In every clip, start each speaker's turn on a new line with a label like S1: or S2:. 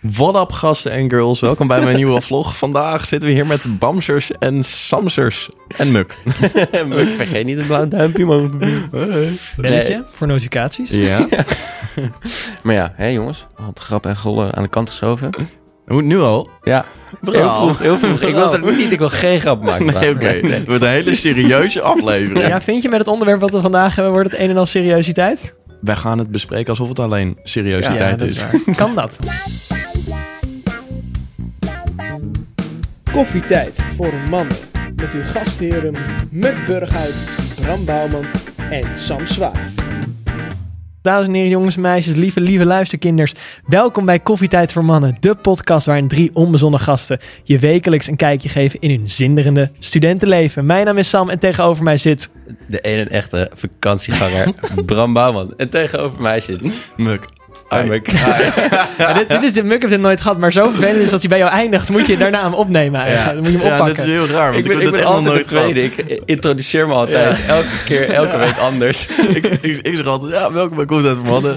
S1: What up gasten en girls, welkom bij mijn nieuwe vlog. Vandaag zitten we hier met Bamsers en Samsers en Muk. Muk, vergeet niet het blauw duimpje, man.
S2: Belletje voor notificaties.
S3: Ja. maar ja, hé jongens, al het grap en gollen aan de kant geschoven.
S1: Hoe, nu al?
S3: Ja,
S1: Bro.
S3: heel vroeg, heel vroeg. Ik wil er niet, ik wil geen grap maken.
S1: Oh. Nee, oké.
S3: vandaag.
S1: Het wordt een hele serieuze aflevering.
S2: Ja, vind je met het onderwerp wat we vandaag hebben, wordt het een en al seriositeit?
S1: Wij gaan het bespreken alsof het alleen seriositeit
S2: dat
S1: is.
S2: waar. Kan dat?
S4: Koffietijd voor mannen. Met uw gastheren Muk Burghuis, Bram Bouwman en Sam Zwaar.
S2: Dames en heren, jongens en meisjes, lieve, lieve luisterkinders. Welkom bij Koffietijd voor Mannen, de podcast waarin drie onbezonnen gasten je wekelijks een kijkje geven in hun zinderende studentenleven. Mijn naam is Sam en tegenover mij zit...
S3: De ene en echte vakantieganger, Bram Bouwman. En tegenover mij zit
S1: Muk. Hi.
S3: Arme
S2: Ah,
S3: Kraai.
S2: Ja, dit, dit is de muk heeft dit nooit gehad, maar zo vervelend is dat hij bij jou eindigt, moet je daarna hem opnemen. eigenlijk. Dan moet je hem
S1: Ja, dat is
S2: oppakken.
S1: heel raar, want
S3: Ik
S1: ik,
S3: ben, ik
S1: heb dit
S3: ben
S1: helemaal
S3: altijd de
S1: nooit
S3: tweede. Ik introduceer me altijd. Elke keer, elke week anders.
S1: gehad. ik, ik, ik zeg altijd, ja, welkom bij Komt uit Mannen.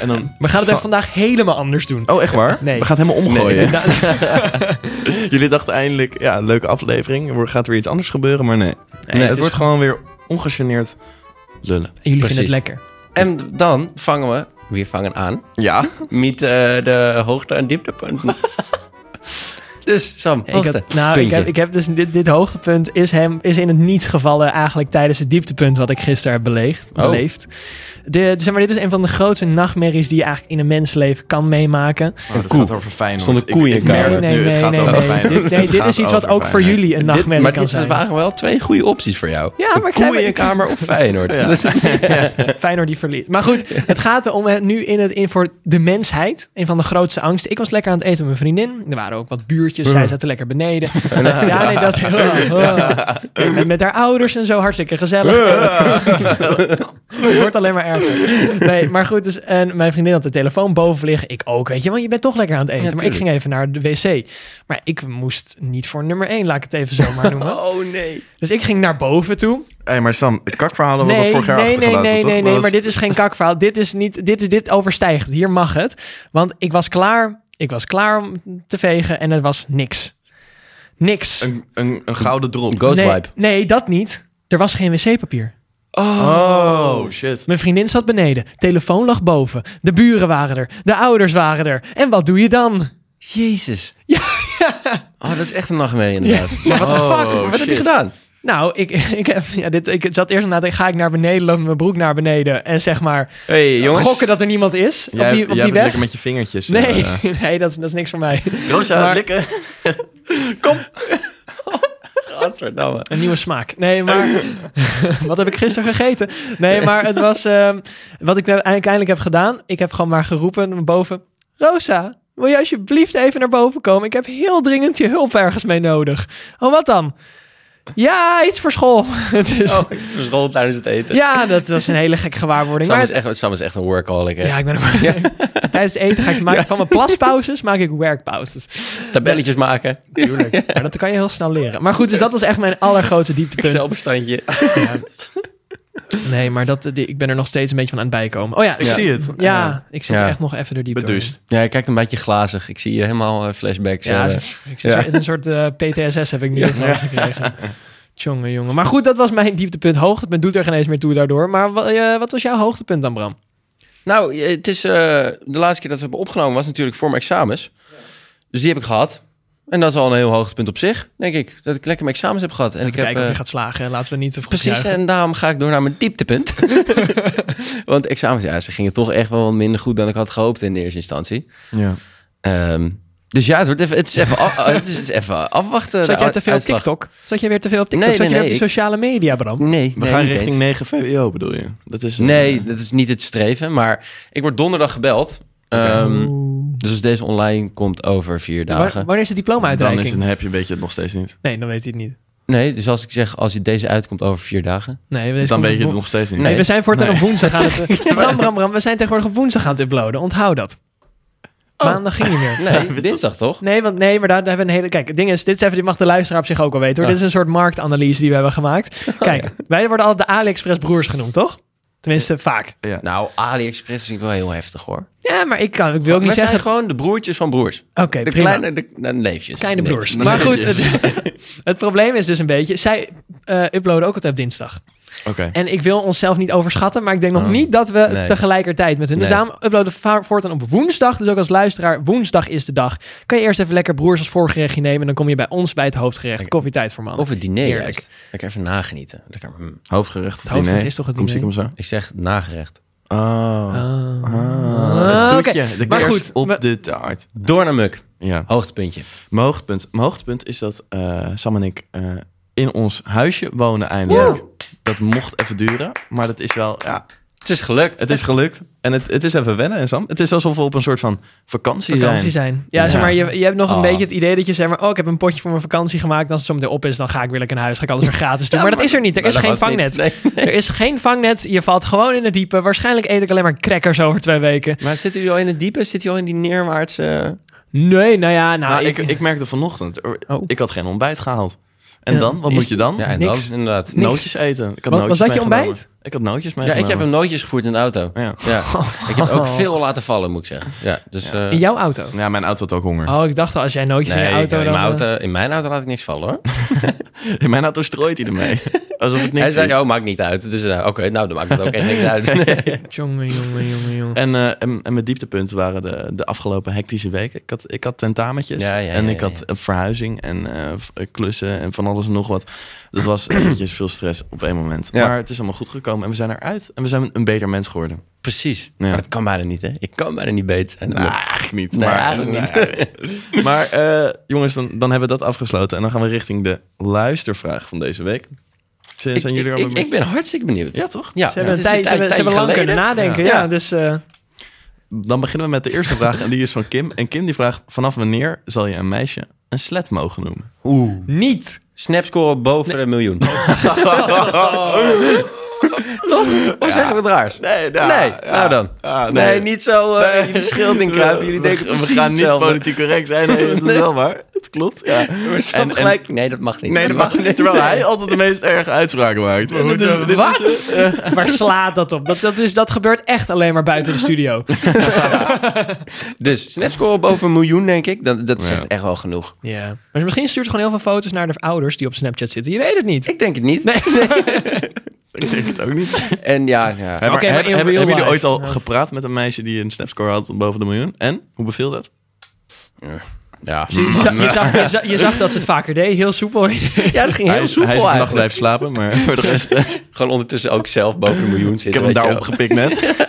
S1: En dan...
S2: We gaan het even vandaag helemaal anders doen.
S1: Oh, echt waar?
S2: Nee.
S1: We gaan het helemaal omgooien.
S2: Da-
S1: Jullie dachten eindelijk, ja, leuke aflevering. Er gaat weer iets anders gebeuren, maar nee. Nee, het,
S3: het is-
S1: wordt gewoon weer ongegeneerd lullen.
S2: En jullie
S3: Precies.
S2: vinden het lekker.
S3: En dan vangen we, weer vangen aan,
S1: Ja.
S3: Niet eh, de hoogte- en dieptepunten. dus Sam,
S2: Ik
S3: hoogte.
S2: heb, nou, ik
S3: Puntje.
S2: heb, ik heb dus dit, dit hoogtepunt is, hem, is in het niets gevallen eigenlijk tijdens het dieptepunt wat ik gisteren heb beleefd.
S3: Oh.
S2: beleefd. De, dus zeg maar, dit is een van de grootste nachtmerries die je eigenlijk in een mensenleven kan meemaken.
S1: Maar dat
S3: koe.
S1: gaat over Feyenoord.
S3: Stonden
S1: Ik-
S3: koeien
S1: ik,
S3: in
S1: merk
S3: kamer.
S1: het nu, het gaat over Feyenoord.
S2: Dit, nee,
S1: Het
S2: dit
S1: gaat
S2: is iets wat
S1: over
S2: ook voor
S1: Feyenoord.
S2: jullie een
S3: Dit-
S2: nachtmerrie
S3: maar
S2: kan
S3: dit
S2: zijn.
S3: waren wel twee goede opties voor jou.
S2: Ja, maar ik zei... maar-
S3: Koeienkamer of Feyenoord.
S2: Feyenoord die verliest. Maar goed, het gaat erom hè, nu in het in voor de mensheid. Een van de grootste angsten. Ik was lekker aan het eten met mijn vriendin. Er waren ook wat buurtjes. Zij zaten lekker beneden. Ja, nee, dat... Met, met haar ouders en zo. Hartstikke gezellig. Het wordt alleen maar erger. Nee, maar goed. Dus, en mijn vriendin had de telefoon boven liggen. Ik ook, weet je. Want je bent toch lekker aan het eten.
S3: Ja,
S2: maar ik
S3: tuurlijk.
S2: ging even naar de wc. Maar ik moest niet voor nummer 1, laat ik het even zo maar noemen.
S3: Oh nee.
S2: Dus ik ging naar boven toe.
S1: Hé, maar Sam, het kakverhaal hadden we al
S2: Nee,
S1: vorig jaar
S2: nee, nee,
S1: achtergelaten,
S2: nee,
S1: toch?
S2: nee,
S1: Dat
S2: nee,
S1: was-
S2: maar dit is geen kakverhaal. dit is niet, dit, is- dit overstijgt. Hier mag het. Want ik was klaar, ik was klaar om te vegen en er was niks. Niks.
S1: Een, een, een gouden drop.
S3: Ghost
S2: nee,
S3: wipe.
S2: nee, dat niet. Er was geen wc-papier.
S1: Oh, shit.
S2: Mijn vriendin zat beneden, telefoon lag boven, de buren waren er, de ouders waren er. En wat doe je dan?
S3: Jezus. Oh, dat is echt een nachtmerrie inderdaad. Maar wat de
S1: Oh,
S3: fuck? Wat heb je
S1: shit.
S3: gedaan?
S2: Nou, ik, ik, heb, ja, dit, ik zat eerst na te denken, ga ik naar beneden, loop met mijn broek naar beneden en zeg maar
S3: hey, jongens.
S2: gokken dat er niemand is
S1: Jij,
S2: op die, op
S1: jij
S2: die
S1: bent
S2: weg.
S1: lekker met je vingertjes.
S2: Nee,
S1: eh,
S2: nee dat, is- dat is niks voor mij.
S1: Rosa,
S2: Maar-
S1: likken.
S3: Godverdamme.
S2: Een nieuwe smaak. Nee, maar wat heb ik gisteren gegeten? Nee, maar het was ehm, wat ik nou uiteindelijk heb gedaan. Ik heb gewoon maar geroepen boven. Rosa, wil je alsjeblieft even naar boven komen? Ik heb heel dringend je hulp ergens mee nodig. Oh, wat dan? Ja, iets voor school. Het is,
S3: Oh, het verschool tijdens het eten.
S2: Ja, dat was een hele gekke gewaarwording.
S3: Sam,
S2: Maar
S3: is echt, Sam is echt een workaholic. Hè?
S2: ja, ik ben er Tijdens het eten ga ik maken van mijn plaspauzes, maak ik werkpauzes.
S3: Tabelletjes maken.
S2: Tuurlijk. Maar dat kan je heel snel leren. Maar goed, dus dat was echt mijn allergrootste dieptepunt.
S3: Excel-bestandje.
S2: Nee, maar dat, eh, die- ik ben er nog steeds een beetje van aan het bijkomen. Oh ja,
S1: Ik zie het.
S2: Ja, ik zit
S3: Ja.
S2: er echt nog even door die
S1: Beduust.
S3: Ja, je kijkt een beetje glazig. Ik zie je helemaal eh, flashbacks.
S2: Ja,
S3: eh.
S2: zo- ik zit zo-
S3: Ja.
S2: in een soort eh, PTSS heb ik nu ervan gekregen. Tjonge, jongen. Maar goed, dat was mijn dieptepunt. Hoogtepunt doet er geen eens meer toe daardoor. Maar wa- eh, wat was jouw hoogtepunt dan, Bram?
S3: Nou, eh, het is eh, de laatste keer dat we hebben opgenomen was natuurlijk voor mijn examens. Dus die heb ik gehad. En dat is al een heel hoogtepunt op zich, denk ik. Dat ik lekker mijn examens heb gehad. En ik
S2: Even kijken
S3: heb,
S2: of je
S3: eh,
S2: gaat slagen. hè. Laten we niet te vroeg
S3: Precies,
S2: juichen.
S3: en daarom ga ik door naar mijn dieptepunt. Want examens, ja, ze gingen toch echt wel wat minder goed dan ik had gehoopt in de eerste instantie.
S1: Ja.
S3: Ehm, dus ja, het, wordt even, het, is even af- het is even afwachten.
S2: Zat
S3: eh, de
S2: jij te veel op
S3: uitslag.
S2: TikTok? Zat jij weer te veel op TikTok?
S3: Nee,
S2: Zat
S3: nee,
S2: je weer
S3: nee,
S2: op die sociale media, Bram?
S3: Nee,
S1: We
S3: nee,
S1: gaan
S3: niet eens.
S1: richting 9 VWO, bedoel je? Dat is een-
S3: Nee, dat is niet het streven. Maar ik word donderdag gebeld. Ehm, dus als deze online komt over vier
S2: Wa-
S3: dagen.
S2: wanneer is de
S1: eh, Dan is
S2: diploma-uitreiking?
S1: het, heb je, weet je het nog steeds niet.
S2: Nee, dan weet hij het niet.
S3: Nee, dus als ik zeg, als je deze uitkomt over vier dagen.
S2: Nee, deze
S1: Dan
S2: komt
S1: weet
S2: op
S1: je het
S2: wo-
S1: nog steeds niet.
S2: Nee,
S3: Nee.
S2: we zijn voor een woensdag aan het... Bram, Bram, Bram, we zijn tegenwoordig op woensdag aan het uploaden. Onthoud dat.
S3: Oh.
S2: Maandag ging je weer.
S3: Nee, dinsdag toch?
S2: Nee, want nee, maar daar, daar hebben we een hele. Kijk, het ding is, dit is even, dit mag de luisteraar op zich ook al weten hoor.
S3: Ah. Oh,
S2: Dit is een soort marktanalyse die we hebben gemaakt. Kijk, wij worden altijd de AliExpress broers genoemd, toch? Tenminste, vaak.
S1: Ja.
S3: Nou, AliExpress vind ik wel heel heftig hoor.
S2: Ja, maar ik, kan, ik wil ook
S3: Wij
S2: niet
S3: zijn
S2: zeggen...
S3: gewoon de broertjes van broers.
S2: Oké,
S3: de
S2: prima.
S3: kleine, de, nou, neefjes.
S2: Kleine broers.
S3: Neefjes.
S2: Maar goed, eh,
S1: Netjes.
S2: het, het probleem is dus een beetje... Zij eh, uploaden ook het op dinsdag.
S1: Oké.
S2: En ik wil onszelf niet overschatten, maar ik denk nog
S1: Oh.
S2: niet dat we
S3: Nee.
S2: tegelijkertijd met hun. Dus
S3: Nee.
S2: daarom uploaden we va- voortaan op woensdag. Dus ook als luisteraar, woensdag is de dag. Kan je eerst even lekker broers als voorgerechtje nemen. En dan kom je bij ons bij het hoofdgerecht. Koffietijd voor man.
S3: Of het diner
S2: Heerlijk.
S3: juist. Lekker even nagenieten. Lekker, mm.
S1: Hoofdgerecht
S2: Het
S1: of
S2: hoofdgerecht
S1: diner?
S2: is toch het
S1: Kom, zie ik hem
S2: diner?
S1: zo.
S3: Ik zeg nagerecht.
S1: Oh.
S2: Ah,
S1: Het
S2: oké.
S1: toetje, de
S2: Maar
S1: kerst
S2: goed,
S1: op
S2: we-
S1: de taart.
S3: Door naar Muk.
S1: Ja.
S3: Hoogtepuntje.
S1: Mijn hoogtepunt, mijn hoogtepunt is dat eh, Sam en ik eh, in ons huisje wonen eindelijk.
S2: Woe!
S1: Dat mocht even duren, maar dat is wel... Ja,
S3: Het is gelukt.
S1: het is gelukt en het, het is even wennen, hè, Sam. Het is alsof we op een soort van vakantie,
S2: vakantie
S1: zijn.
S2: zijn. Ja,
S1: Ja.
S2: zeg maar, je, je hebt nog een
S3: Ah.
S2: beetje het idee dat je zeg maar, oh, ik heb een potje voor mijn vakantie gemaakt. Als het zo meteen op is, dan ga ik weer lekker naar huis. Ga ik alles weer gratis doen.
S3: Ja,
S2: maar, dat is er niet. Er
S3: maar
S2: is
S3: dat
S2: geen
S3: was niet.
S2: vangnet.
S3: Nee.
S2: Er is geen vangnet. Je valt gewoon in het diepe. Waarschijnlijk eet ik alleen maar crackers over twee weken.
S3: Maar zit u al in het diepe? Zit u al in die neerwaartse...
S2: Nee, nou ja, nou,
S1: Nou,
S2: ik,
S1: ik, ik merkte vanochtend, er-
S2: Oh.
S1: ik had geen ontbijt gehaald. En
S2: Ja.
S1: dan, wat
S3: Is-
S1: moet je dan?
S3: Ja, en
S2: Niks.
S3: dan inderdaad.
S1: Nootjes eten. Ik had
S2: Wat-
S1: nootjes
S2: was dat je
S1: meegenomen.
S2: ontbijt?
S1: Ik had nootjes
S3: Ja,
S1: meegenomen.
S3: ik heb hem nootjes gevoerd in de auto.
S1: Ja.
S3: Ja. Ik heb ook veel laten vallen, moet ik zeggen. Ja, dus... eh,
S2: in jouw auto.
S1: Ja, mijn auto had ook honger.
S2: Oh, ik dacht al, als jij nootjes
S3: Nee,
S2: in je
S3: ik-
S2: auto...
S3: in,
S2: dan,
S3: mijn
S2: eh,
S3: auto, in mijn auto laat ik niks vallen hoor.
S1: In mijn auto strooit hij ermee. Alsof het niks
S3: Hij zei,
S1: is.
S3: oh, maakt niet uit. Dus eh, oké, nou, dan maakt het ook echt niks uit.
S2: eh, Jongen, jongen, jongen, jongen.
S1: En, eh, en, en mijn dieptepunten waren de, de afgelopen hectische weken. Ik had, ik had tentamentjes
S3: Ja, ja,
S1: en
S3: ja,
S1: ik had
S3: ja.
S1: een verhuizing en eh, v- eh, klussen en van alles en nog wat. Dat was eventjes veel stress op één moment.
S3: Ja.
S1: Maar het is allemaal goed gekomen en we zijn eruit. En we zijn een beter mens geworden.
S3: Precies.
S1: Ja.
S3: Maar dat kan bijna niet, hè? Ik kan bijna niet beter zijn.
S1: Nou, eigenlijk niet.
S3: Nee,
S1: maar
S3: eigenlijk
S1: niet. maar eh, jongens, dan, dan hebben we dat afgesloten. En dan gaan we richting de luistervraag van deze week. Zijn,
S3: ik,
S1: zijn jullie
S3: ik,
S1: er al
S3: ik,
S1: mee-
S3: ik ben hartstikke benieuwd.
S1: Ja, toch?
S3: Ja,
S2: Ze hebben,
S3: het
S2: een
S3: is
S2: tijd, ze hebben, ze hebben lang
S3: tijdje
S2: kunnen
S3: geleden.
S2: nadenken. Ja,
S3: Ja.
S2: dus eh,
S1: Dan beginnen we met de eerste vraag. En die is van Kim. En Kim die vraagt, vanaf wanneer zal je een meisje een slet mogen noemen?
S2: niet.
S3: Snapscore boven de miljoen. Toch? Of zeggen we het raars?
S1: Nee, nou,
S3: nee,
S1: ja.
S3: nou dan.
S1: Ah, nee.
S3: nee. niet zo eh jullie schild in kruipen. Jullie denken
S1: we, we
S3: precies
S1: gaan niet
S3: hetzelfde.
S1: politiek correct zijn. Nee, dat is wel waar. Het klopt. Ja.
S3: Maar Sam
S1: En- en-
S3: gelijk, nee, dat mag niet.
S1: Nee, dat mag niet. Terwijl hij altijd de meest erge uitspraken maakt. En dit
S3: eh,
S1: is- dit is-
S2: Dus Wat? Waar slaat dat op? Dat, dat, is, dat gebeurt echt alleen maar buiten de studio.
S3: Dus snapscore boven een miljoen, denk ik. Dat, dat zegt
S1: Ja.
S3: echt wel genoeg.
S2: Ja. Maar misschien stuurt ze gewoon heel veel foto's naar de ouders die op Snapchat zitten. Je weet het niet.
S3: Ik denk het niet.
S1: Ik denk het ook niet.
S3: En ja, ja.
S1: Hebben,
S2: maar in
S1: hebben- hebben
S2: real
S1: jullie
S2: life.
S1: ooit al
S2: Ja.
S1: gepraat met een meisje die een snapscore had boven de miljoen? En? Hoe beviel dat?
S3: Ja,
S2: Je, za- je, zag, je, za- je zag dat ze het vaker deed. Heel soepel.
S3: ja dat
S1: hij
S3: ging heel
S1: is, hij is
S3: soepel
S1: vannacht
S3: eigenlijk.
S1: blijven slapen, maar voor de rest...
S3: Gewoon ondertussen ook zelf boven een miljoen zitten.
S1: ik heb hem
S3: weet je
S1: daar
S3: wel.
S1: opgepikt net.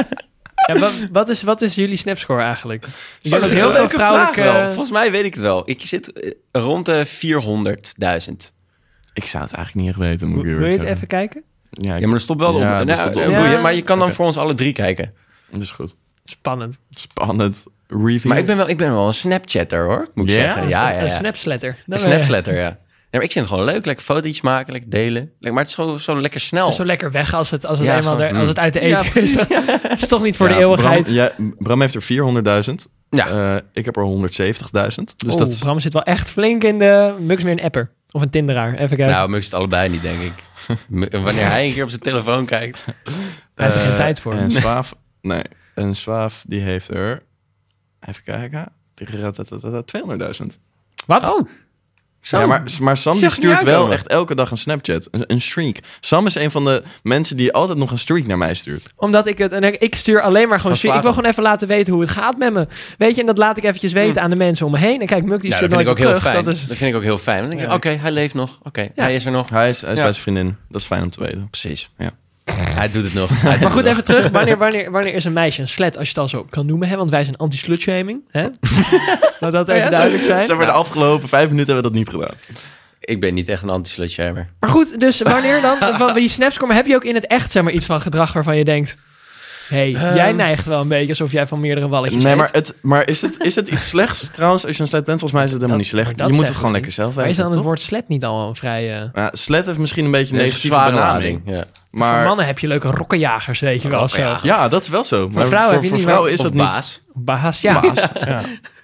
S2: Ja, wat, wat, is, wat is jullie snapscore eigenlijk? Ik denk
S3: Maar
S2: dat
S3: dat
S2: heel veel vrouwelijke...
S3: Volgens mij weet ik het wel. Ik zit eh, rond de 400.000.
S1: Ik zou het eigenlijk niet echt weten, moet
S2: Wil
S1: ik
S2: wil
S1: eerlijk
S2: je het
S1: zeggen.
S2: even kijken?
S1: Ja,
S3: Ja, maar er stopt wel op.
S1: Ja,
S3: Nou,
S1: er stopt wel
S3: eh,
S1: op.
S3: boeien,
S2: Ja.
S3: Maar je kan dan
S1: Oké.
S3: voor ons alle drie kijken.
S1: dat is goed.
S2: Spannend.
S1: Spannend. Review.
S3: Maar ik ben wel, ik ben wel een Snapchatter hoor, moet ik
S1: Ja?
S3: zeggen. Ja, ja,
S2: Een
S3: ja.
S2: snapsletter.
S3: Een
S2: Dat ben je.
S3: Snapsletter, ja. Nee, maar ik vind het gewoon leuk. Lekker fotootjes maken, lekker delen. Lekker- maar het is gewoon zo lekker snel.
S2: Het is zo lekker weg als het, als het,
S3: Oh. Ja,
S2: eenmaal
S3: zo- mm.
S2: er- als het uit de
S3: Ja,
S2: eten is. Het is toch niet voor de eeuwigheid.
S1: Ah, Bram, ja, Bram heeft er 400.000.
S3: Ja.
S1: Eh, ik heb er 170.000. Dus
S2: oh,
S1: dat is...
S2: Bram zit wel echt flink in de... Mux meer een apper. Of een tinderaar. Even kijken.
S3: Nou, Mux het allebei niet, denk ik. M- Wanneer hij een keer op zijn telefoon kijkt. Nou,
S2: Hij heeft er geen
S1: eh,
S2: tijd voor.
S1: En Zwaaf... Nee. En Zwaaf, die heeft er... Even kijken. 200.000.
S3: Oh.
S2: Wat?
S3: Zo.
S1: Ja,
S2: Oh,
S1: maar, maar Sam
S3: Zeg
S1: die
S3: niet
S1: stuurt wel
S3: uitkomen.
S1: echt elke dag een Snapchat. Een, een streak. Sam is een van de mensen die altijd nog een streak naar mij stuurt.
S2: Omdat ik het... En ik- ik stuur alleen maar gewoon...
S3: Van
S2: Ik wil
S3: slagen.
S2: gewoon even laten weten hoe het gaat met me. Weet je, en dat laat ik eventjes
S3: Hmm.
S2: weten aan de mensen om me heen. En kijk, Muk die
S3: Ja,
S2: stuurt
S3: dat vind ik
S2: nooit
S3: ook heel
S2: meer terug.
S3: fijn.
S2: Dat
S3: Dat
S2: is
S3: vind ik ook heel fijn. Dan denk je,
S1: Ja.
S3: oké, hij leeft nog. Oké,
S2: Ja.
S3: hij is er nog.
S1: Hij is, hij is
S3: Ja.
S1: bij zijn vriendin. Dat is fijn om te weten.
S3: Precies.
S1: Ja.
S3: Hij doet het nog. Hij doet
S2: Maar goed,
S3: het
S2: even terug. Wanneer, wanneer, wanneer is een meisje een slet, als je het al zo kan noemen? Hè? Want wij zijn anti-slutshaming. hè? Laat dat
S3: Oh
S2: even duidelijk
S1: Zeg
S2: zijn.
S1: maar, de afgelopen vijf minuten hebben we dat niet gedaan.
S3: nog. Ik ben niet echt een anti-slutshamer.
S2: Maar goed, dus wanneer dan? Van die snapscore, heb je ook in het echt zeg maar, iets van gedrag waarvan je denkt... hey, jij neigt wel een beetje alsof jij van meerdere
S1: Ehm,
S2: walletjes
S1: Nee,
S2: eet.
S1: maar, het, maar is, het, is het iets slechts trouwens? Als je een slet bent, volgens mij is het helemaal
S2: Dat-
S1: niet
S2: maar
S1: slecht.
S2: dat
S1: Je moet
S2: zeggen
S1: het gewoon
S2: we
S1: lekker zelf
S2: Maar is
S1: weten,
S2: dan het
S1: toch?
S2: woord slet niet al een vrij... eh,
S1: Ja, slet heeft misschien een beetje een
S3: Nee,
S1: negatieve
S3: zware
S1: benaming.
S3: lading, ja.
S1: Maar
S2: Voor mannen heb je leuke rokkenjagers, weet je wel. of Zo.
S3: Rokkenjagers.
S1: ja, dat is wel zo. maar
S2: vrouwen
S1: voor,
S2: heb je
S1: voor
S2: niet,
S1: vrouwen is
S2: maar-
S3: Of
S1: dat niet.
S3: baas.
S2: Baas, ja.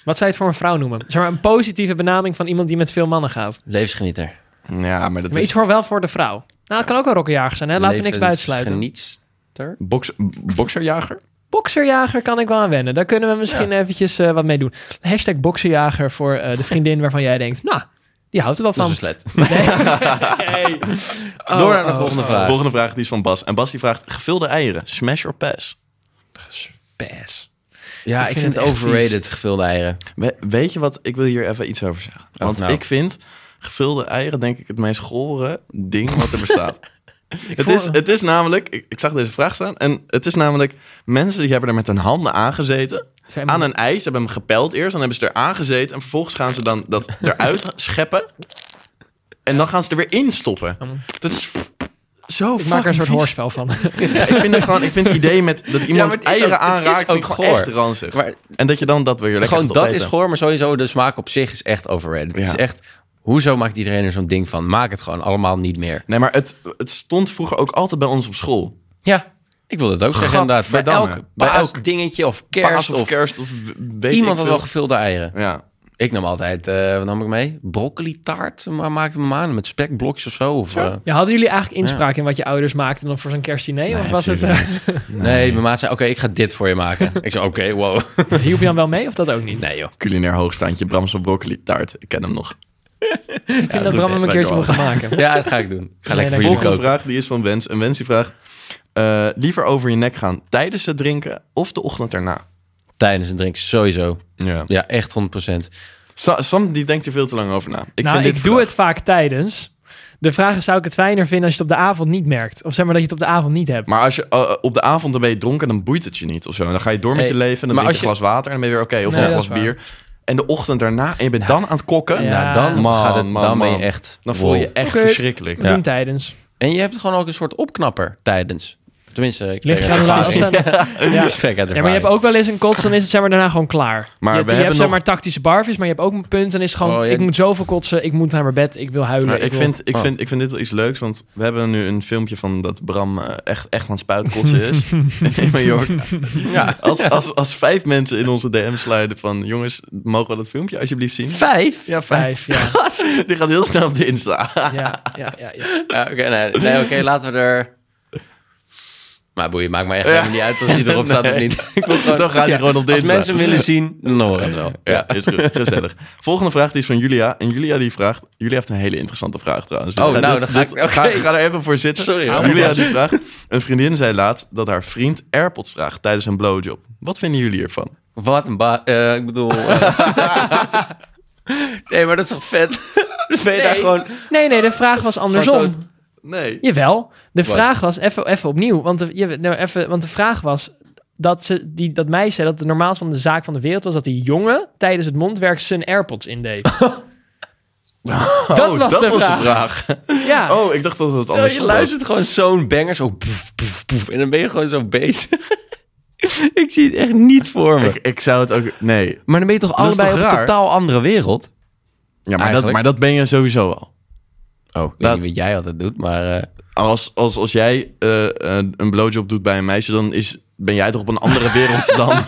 S2: Wat zou je het voor een vrouw noemen? Zeg maar een positieve benaming van iemand die met veel mannen gaat.
S3: Levensgenieter.
S1: Ja, maar dat
S2: Maar
S1: is...
S2: iets voor wel voor de vrouw. Nou, het kan ook een rokkenjager zijn, hè? Laten we niks buiten sluiten.
S3: Levensgenietster. Ter?
S1: Boks, bokserjager?
S2: Bokserjager kan ik wel aan wennen. Daar kunnen we misschien eventjes eh, wat mee doen. Hashtag bokserjager voor eh, de vriendin waarvan jij denkt... Nou, die houdt er wel
S3: Dat is
S2: van.
S3: een slet.
S2: Hey. Oh,
S3: Door naar de
S2: oh.
S3: volgende vraag.
S1: Volgende vraag die is van Bas. En Bas die vraagt, gevulde eieren, smash or pass?
S2: Pass.
S3: Ja, ik, vind, het
S2: echt vies.
S3: overrated, gevulde eieren.
S1: We- weet je wat, ik wil hier even iets over zeggen. Want
S3: nou.
S1: ik vind gevulde eieren denk ik het meest gore ding wat er bestaat. het,
S2: voel-
S1: is, het is namelijk, ik, ik zag deze vraag staan, en het is namelijk mensen die hebben er met hun handen aangezeten.
S2: Zijn
S1: Aan een ijs, hebben hem gepeld eerst, dan hebben ze er aangezeten en vervolgens gaan ze dan dat eruit scheppen. En dan gaan ze er weer in stoppen. Dat is zo
S2: Ik maak er een soort
S1: fucking vies.
S2: hoorspel van.
S1: Ja, ik vind het gewoon, ik vind het idee met dat iemand
S3: maar het is
S1: eieren
S3: ook- het is
S1: aanraakt
S3: ook
S1: vind ik gewoon
S3: goor.
S1: echt ranzig.
S3: Maar
S1: En dat je dan dat weer lekker
S3: gewoon
S1: gaat
S3: dat is
S1: opeten.
S3: goor, maar sowieso de smaak op zich is echt overrated. Het is
S1: Ja.
S3: echt, hoezo maakt iedereen er zo'n ding van? Maak het gewoon allemaal niet meer.
S1: Nee, maar het, het stond vroeger ook altijd bij ons op school.
S3: Ja. Ik wil dat ook zeggen inderdaad. Bij
S1: Gadverdamme.
S3: elk,
S1: Bij
S3: bij
S1: elk
S3: elk dingetje of kerst
S1: Paas
S3: of,
S1: of kerst of w- weet
S3: iemand
S1: ik
S3: had
S1: veel.
S3: wel gevulde eieren.
S1: Ja.
S3: Ik nam altijd, eh, wat nam ik mee? Broccoli taart maar maakte me aan met spekblokjes of zo. Of, eh,
S2: Ja, hadden jullie eigenlijk inspraak in wat je ouders maakten dan voor zo'n kerstdiner? of was het, eh,
S3: nee. mijn maat zei, oké, ik ga dit voor je maken. ik zei, oké, wow.
S2: hielp je dan wel mee of dat ook niet?
S3: nee joh.
S1: Culinair hoogstaandje, Bramse broccoli taart. Ik ken hem nog.
S2: ik vind dat Bram hem een
S1: lekker
S2: keertje moet gaan maken.
S3: Ja, dat ga ik doen. Ik ga lekker voor jullie
S1: Volgende
S3: koken.
S1: vraag die is van Wens. En Wens die vraagt... eh, liever over je nek gaan tijdens het drinken of de ochtend erna?
S3: Tijdens een drink, sowieso.
S1: Ja.
S3: Ja, echt 100%.
S1: Sa- Sam die denkt er veel te lang over na. Ik,
S2: nou,
S1: vind dit
S2: ik doe
S1: verdacht.
S2: het vaak tijdens. De vraag is, zou ik het fijner vinden als je het op de avond niet merkt? Of zeg maar dat je het op de avond niet hebt.
S1: Maar als je eh, op de avond dan ben je dronken, dan boeit het je niet of zo. En dan ga je door met
S3: Nee,
S1: je leven en dan
S3: maar
S1: drink je een
S3: als
S1: glas water en dan ben je weer oké. of
S2: Nee,
S1: een
S2: dat is
S1: glas bier. En de ochtend daarna en je bent dan aan het kokken.
S2: Ja.
S3: Nou, dan,
S1: Man,
S3: gaat het,
S1: man,
S3: dan ben je
S1: man.
S3: echt...
S1: Dan voel je je
S3: wow.
S1: echt
S2: Oké.
S1: verschrikkelijk.
S2: We
S3: Ja.
S2: doen tijdens.
S3: En je hebt gewoon ook een soort opknapper tijdens. Tenminste, ik
S2: Ligt
S3: spreek
S2: eraan
S3: uit
S2: hoe laat- als
S3: ervaring.
S2: dan-
S3: Ja. Ik spreek uit
S2: Ja, maar je hebt
S3: ervaring.
S2: ook wel eens een kots, dan is het zeg maar daarna gewoon klaar.
S1: Maar
S2: je hebt,
S1: we
S2: je hebt
S1: hebben
S2: zeg
S1: nog-
S2: maar tactische barfjes, maar je hebt ook een punt. Dan is het gewoon,
S3: Oh, ja.
S2: ik moet zoveel kotsen, ik moet naar mijn bed, ik wil huilen.
S1: Maar Nou, ik,
S2: wil-
S1: vind, ik,
S3: Oh.
S1: vind, ik vind dit wel iets leuks, want we hebben nu een filmpje van dat Bram eh, echt, echt aan het spuitkotsen is. in Mallorca.
S3: Ja.
S1: Als, als, als vijf mensen in onze DM sluiten van... jongens, mogen we dat filmpje alsjeblieft zien?
S3: Vijf?
S1: Ja,
S2: Vijf, ja.
S1: Die gaat heel snel op de Insta.
S2: ja, ja, ja, ja.
S3: Ja, oké, nee, nee, oké, laten we er... Maar boeien, maakt me echt helemaal niet uit als die erop staat of
S1: Nee.
S3: niet. Ik wil gewoon,
S1: Dan gaat hij gewoon op de
S3: Als
S1: Insta.
S3: mensen willen zien, dan horen we het wel.
S1: Ja, is goed. Gezellig. Volgende vraag die is van Julia. En Julia die vraagt... Julia heeft een hele interessante vraag trouwens. Dit
S3: Oh,
S1: dit-
S3: nou, dan ga ik-
S1: dit-
S3: oké.
S1: ga, ga er even voor zitten.
S3: Sorry, hoor.
S1: Julia die vraagt... Een vriendin zei laatst dat haar vriend AirPods vraagt tijdens een blowjob. Wat vinden jullie ervan?
S3: Wat een ba... eh, ik bedoel... eh. nee, maar dat is toch vet? Dus ben je daar
S2: Nee.
S3: gewoon...
S2: Nee, nee, de vraag was
S3: Gewoon
S2: andersom.
S3: zo'n-
S1: Nee.
S2: Jawel, de
S3: Wat?
S2: vraag was, even, even opnieuw, want de, je, nou, even, want de vraag was dat, ze, die, dat meisje, dat de normaal van de zaak van de wereld was dat die jongen tijdens het mondwerk zijn AirPods indeed. dat
S1: Oh,
S2: was,
S1: dat
S2: de,
S1: was
S2: vraag.
S1: de vraag.
S2: Ja.
S1: Oh, ik dacht dat het
S3: Stel,
S1: anders
S3: je
S1: was.
S3: luistert gewoon zo'n banger, zo poef, poef, poef. En dan ben je gewoon zo bezig. ik zie het echt niet voor me.
S1: Ik, ik zou het ook... Nee.
S3: maar dan ben je
S1: is
S3: toch allebei
S1: toch
S3: op een
S1: raar?
S3: totaal andere wereld?
S1: Ja, maar dat,
S3: Eigenlijk.
S1: maar dat ben je sowieso al.
S3: Oh, ik
S1: Dat-
S3: weet niet wat jij altijd doet, maar... eh,
S1: Als, als, als jij eh, eh, een blowjob doet bij een meisje, dan is, ben jij toch op een andere wereld dan...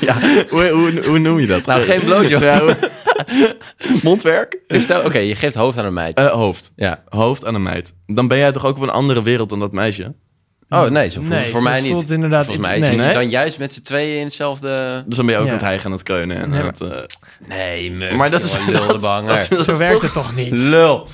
S1: ja, hoe, hoe, hoe noem je dat? Eh,
S3: nou, geen blowjob.
S1: Ja, hoe- Mondwerk?
S3: Dus stel, oké, je geeft hoofd aan een meid.
S1: Eh, hoofd.
S3: Ja.
S1: Hoofd aan een meid. Dan ben jij toch ook op een andere wereld dan dat meisje?
S3: Oh, nee, zo voelt
S2: Nee,
S3: het voor
S2: dat
S3: mij niet.
S2: voelt inderdaad
S3: Volgens
S2: iets-
S3: mij
S2: nee.
S3: zit je
S1: Nee?
S3: dan juist met z'n tweeën in hetzelfde...
S1: Dus dan ben je ook
S2: Ja.
S1: aan het hijgen en aan het kreunen. En aan het, eh,
S3: Nee,
S1: maar dat is... dat-
S3: Lul de
S1: dat- dat
S2: Zo
S1: is
S2: werkt
S1: toch-
S2: het toch niet?
S3: Lul.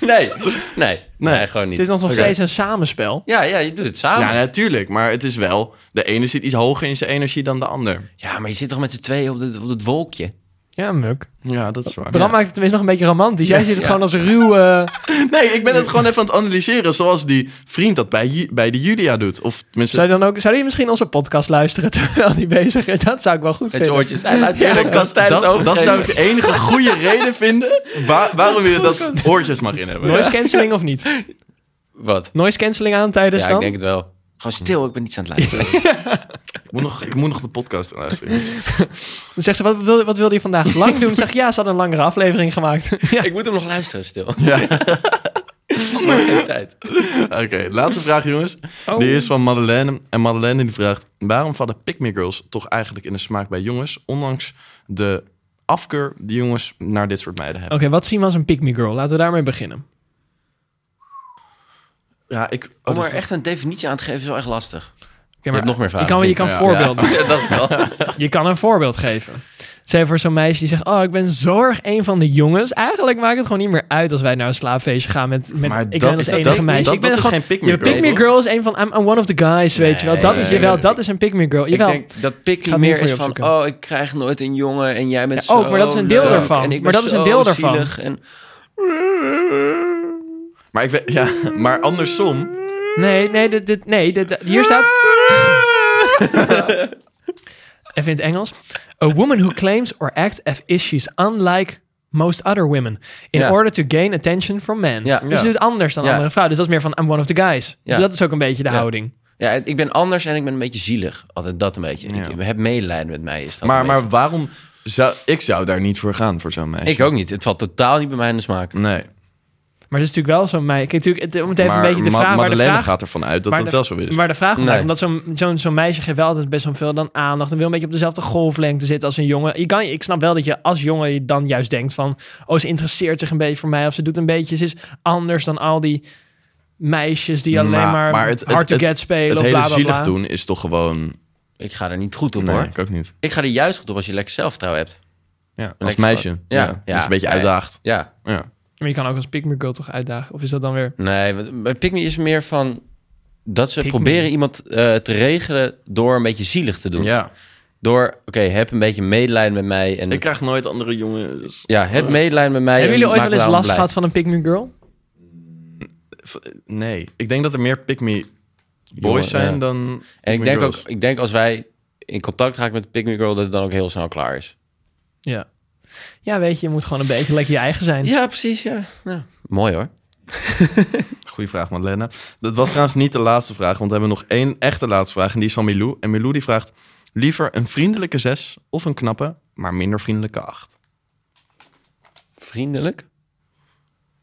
S3: nee, nee, nee, gewoon niet.
S2: Het is dan nog
S1: Oké.
S2: steeds een samenspel.
S3: Ja, ja, je doet het samen.
S1: Ja,
S3: Ja,
S1: natuurlijk. Maar het is wel... De ene zit iets hoger in zijn energie dan de ander.
S3: maar je zit toch met z'n tweeën op, dit, op dat wolkje?
S2: Ja, muk.
S1: Ja, dat is waar.
S2: Bram maakt het tenminste nog een beetje romantisch. Jij ziet het gewoon als ruw... eh,
S1: Nee, ik ben het gewoon even aan het analyseren. Zoals die vriend dat bij, Ju- bij de Julia doet. Of tenminste...
S2: Zou je dan ook... Zou je misschien onze podcast luisteren terwijl die bezig is? Dat zou ik wel goed
S3: Met z'n
S2: vinden.
S3: oortjes. Hij laat je
S1: Ja,
S3: ja,
S1: dat,
S3: tijdens
S1: dat, dat
S3: overgeven.
S1: zou ik de enige goede reden vinden waar- waarom je dat oortjes mag in hebben.
S2: Noise cancelling of niet?
S3: Wat?
S2: Noise cancelling aan tijdens
S3: Ja, ik
S2: dan?
S3: denk het wel. Dus Gewoon stil, ik ben niet aan het luisteren.
S1: Ik, moet nog, ik moet nog de podcast luisteren.
S2: Dan zegt ze, wat wilde, wat wilde je vandaag lang doen? Zeg ja, ze had een langere aflevering gemaakt.
S3: ja, ik moet hem nog luisteren stil.
S1: Ja.
S3: Maar geen tijd.
S1: Oké, laatste vraag jongens. Die is van Madeleine. En Madeleine die vraagt... waarom vallen pick me girls toch eigenlijk in de smaak bij jongens... ondanks de afkeur die jongens naar dit soort meiden
S2: Oké,
S1: hebben?
S2: wat zien we als een pick-me girl? Laten we daarmee beginnen.
S1: Ja, ik... oh,
S3: Om
S1: dat
S3: maar
S1: is-
S3: echt een definitie aan te geven is wel echt lastig.
S2: Oké,
S3: hebt nog meer vragen,
S2: Je kan, je
S3: vind
S2: kan
S1: ik. Ja, ja.
S2: voorbeelden.
S3: Ja, dat wel.
S2: Je kan een voorbeeld geven. Zeg voor zo'n meisje die zegt: Oh, ik ben zorg een van de jongens. Eigenlijk maakt het gewoon niet meer uit als wij naar een slaapfeestje gaan met. met
S1: Maar
S2: ik
S1: dat
S2: ben als
S1: is- dat-
S2: enige
S1: dat-
S2: meisje.
S1: dat-
S2: ik ben
S1: dat is
S2: gewoon,
S1: geen pick me
S2: je
S1: girl,
S2: pick me
S1: toch?
S2: girl is een van. I'm, I'm one of the guys, weet je wel. Dat is
S1: Nee.
S2: je wel. Dat is een pick me girl. Jawel.
S3: Ik denk dat pikken
S2: het
S3: meer
S2: niet voor
S3: is
S2: je
S3: van...
S2: opzoeken.
S3: Oh, ik krijg nooit een jongen en jij bent
S2: Ja, ook,
S3: zo
S2: maar dat is een deel
S3: leuk
S2: daarvan.
S3: En ik ben
S2: Maar dat is een
S3: zo
S2: deel daarvan.
S3: zielig En...
S1: Maar ik weet... Ja, maar
S2: Mm.
S1: andersom...
S2: Nee, nee, dit, dit, nee dit, dit- hier staat. Even in het Engels. A woman who claims or acts as if she's unlike most other women. In
S3: Ja.
S2: order to gain attention from men.
S3: Ja.
S2: Dus
S1: Ja.
S2: ze doet anders dan
S3: Ja.
S2: andere vrouwen. Dus dat is meer van I'm one of the guys. Dus dat is ook een beetje de
S3: Ja.
S2: houding.
S3: Ja, ik ben anders en ik ben een beetje zielig. Altijd dat een beetje.
S1: Ja.
S3: Ik heb medelijden met mij. Is dat
S1: Maar,
S3: een
S1: maar waarom zou... Ik zou daar niet voor gaan, voor zo'n meisje.
S3: beetje. Ik ook niet. Het valt totaal niet bij mij in de smaak.
S1: Nee.
S2: Maar dat is natuurlijk wel zo'n meisje. Kijk, natuurlijk, het- om het even
S1: maar
S2: een beetje de
S1: Ma-
S2: vraag waar de
S1: Madeleine
S2: vraag.
S1: gaat ervan uit dat
S2: waar
S1: dat
S2: de-
S1: wel zo is.
S2: Waar de vraag om
S3: Nee.
S2: gaat, omdat zo'n zo'n zo'n meisje geeft wel altijd best wel veel dan aandacht. En wil een beetje op dezelfde golflengte zitten als een jongen. Je kan, ik snap wel dat je als jongen je dan juist denkt van... oh, ze interesseert zich een beetje voor mij. Of ze doet een beetje, ze is anders dan al die meisjes die alleen
S1: Nou,
S2: maar,
S1: maar het- het-
S2: hard to
S1: het-
S2: get spelen.
S1: het
S2: of
S1: hele
S2: bla, bla,
S1: zielig
S2: bla.
S1: doen is toch gewoon...
S3: Ik ga er niet goed op
S1: Nee,
S3: hoor.
S1: ik ook niet.
S3: Ik ga er juist goed op als je lekker zelfvertrouwen hebt.
S1: Ja, als
S3: Lekker
S1: meisje.
S3: gewoon.
S1: Ja.
S3: Ja.
S1: Dat
S3: Ja.
S1: je een beetje
S3: Ja.
S1: uitdaagt.
S3: Ja.
S1: Ja.
S2: Maar je kan ook als pick me girl toch uitdagen? Of is dat dan weer...
S3: Nee, want bij Pick Me is meer van... Dat ze
S2: Pick me.
S3: proberen iemand eh, te regelen door een beetje zielig te doen.
S1: ja.
S3: Door, oké, heb een beetje medelijden met mij. En,
S1: Ik krijg nooit andere jongens.
S3: ja, heb medelijden met mij.
S2: Hebben
S3: en
S2: jullie ooit
S3: maak
S2: wel eens
S3: me daarom
S2: last gehad
S3: blij.
S2: van een pick me girl?
S1: V- Nee, ik denk dat er meer pick-me
S3: Jongen,
S1: boys zijn
S3: ja.
S1: dan
S3: En ik
S1: pick-me
S3: denk, ook,
S1: girls.
S3: ik denk als wij in contact raken met de Pick Me Girl... dat het dan ook heel snel klaar is.
S2: Ja. Ja, weet je, je moet gewoon een beetje lekker je eigen zijn.
S3: Ja, precies, ja. Ja. Mooi hoor.
S1: Goeie vraag, Madeleine. Dat was trouwens niet de laatste vraag, want we hebben nog één echte laatste vraag. En die is van Milou. En Milou die vraagt, liever een vriendelijke zes of een knappe, maar minder vriendelijke acht?
S3: Vriendelijk.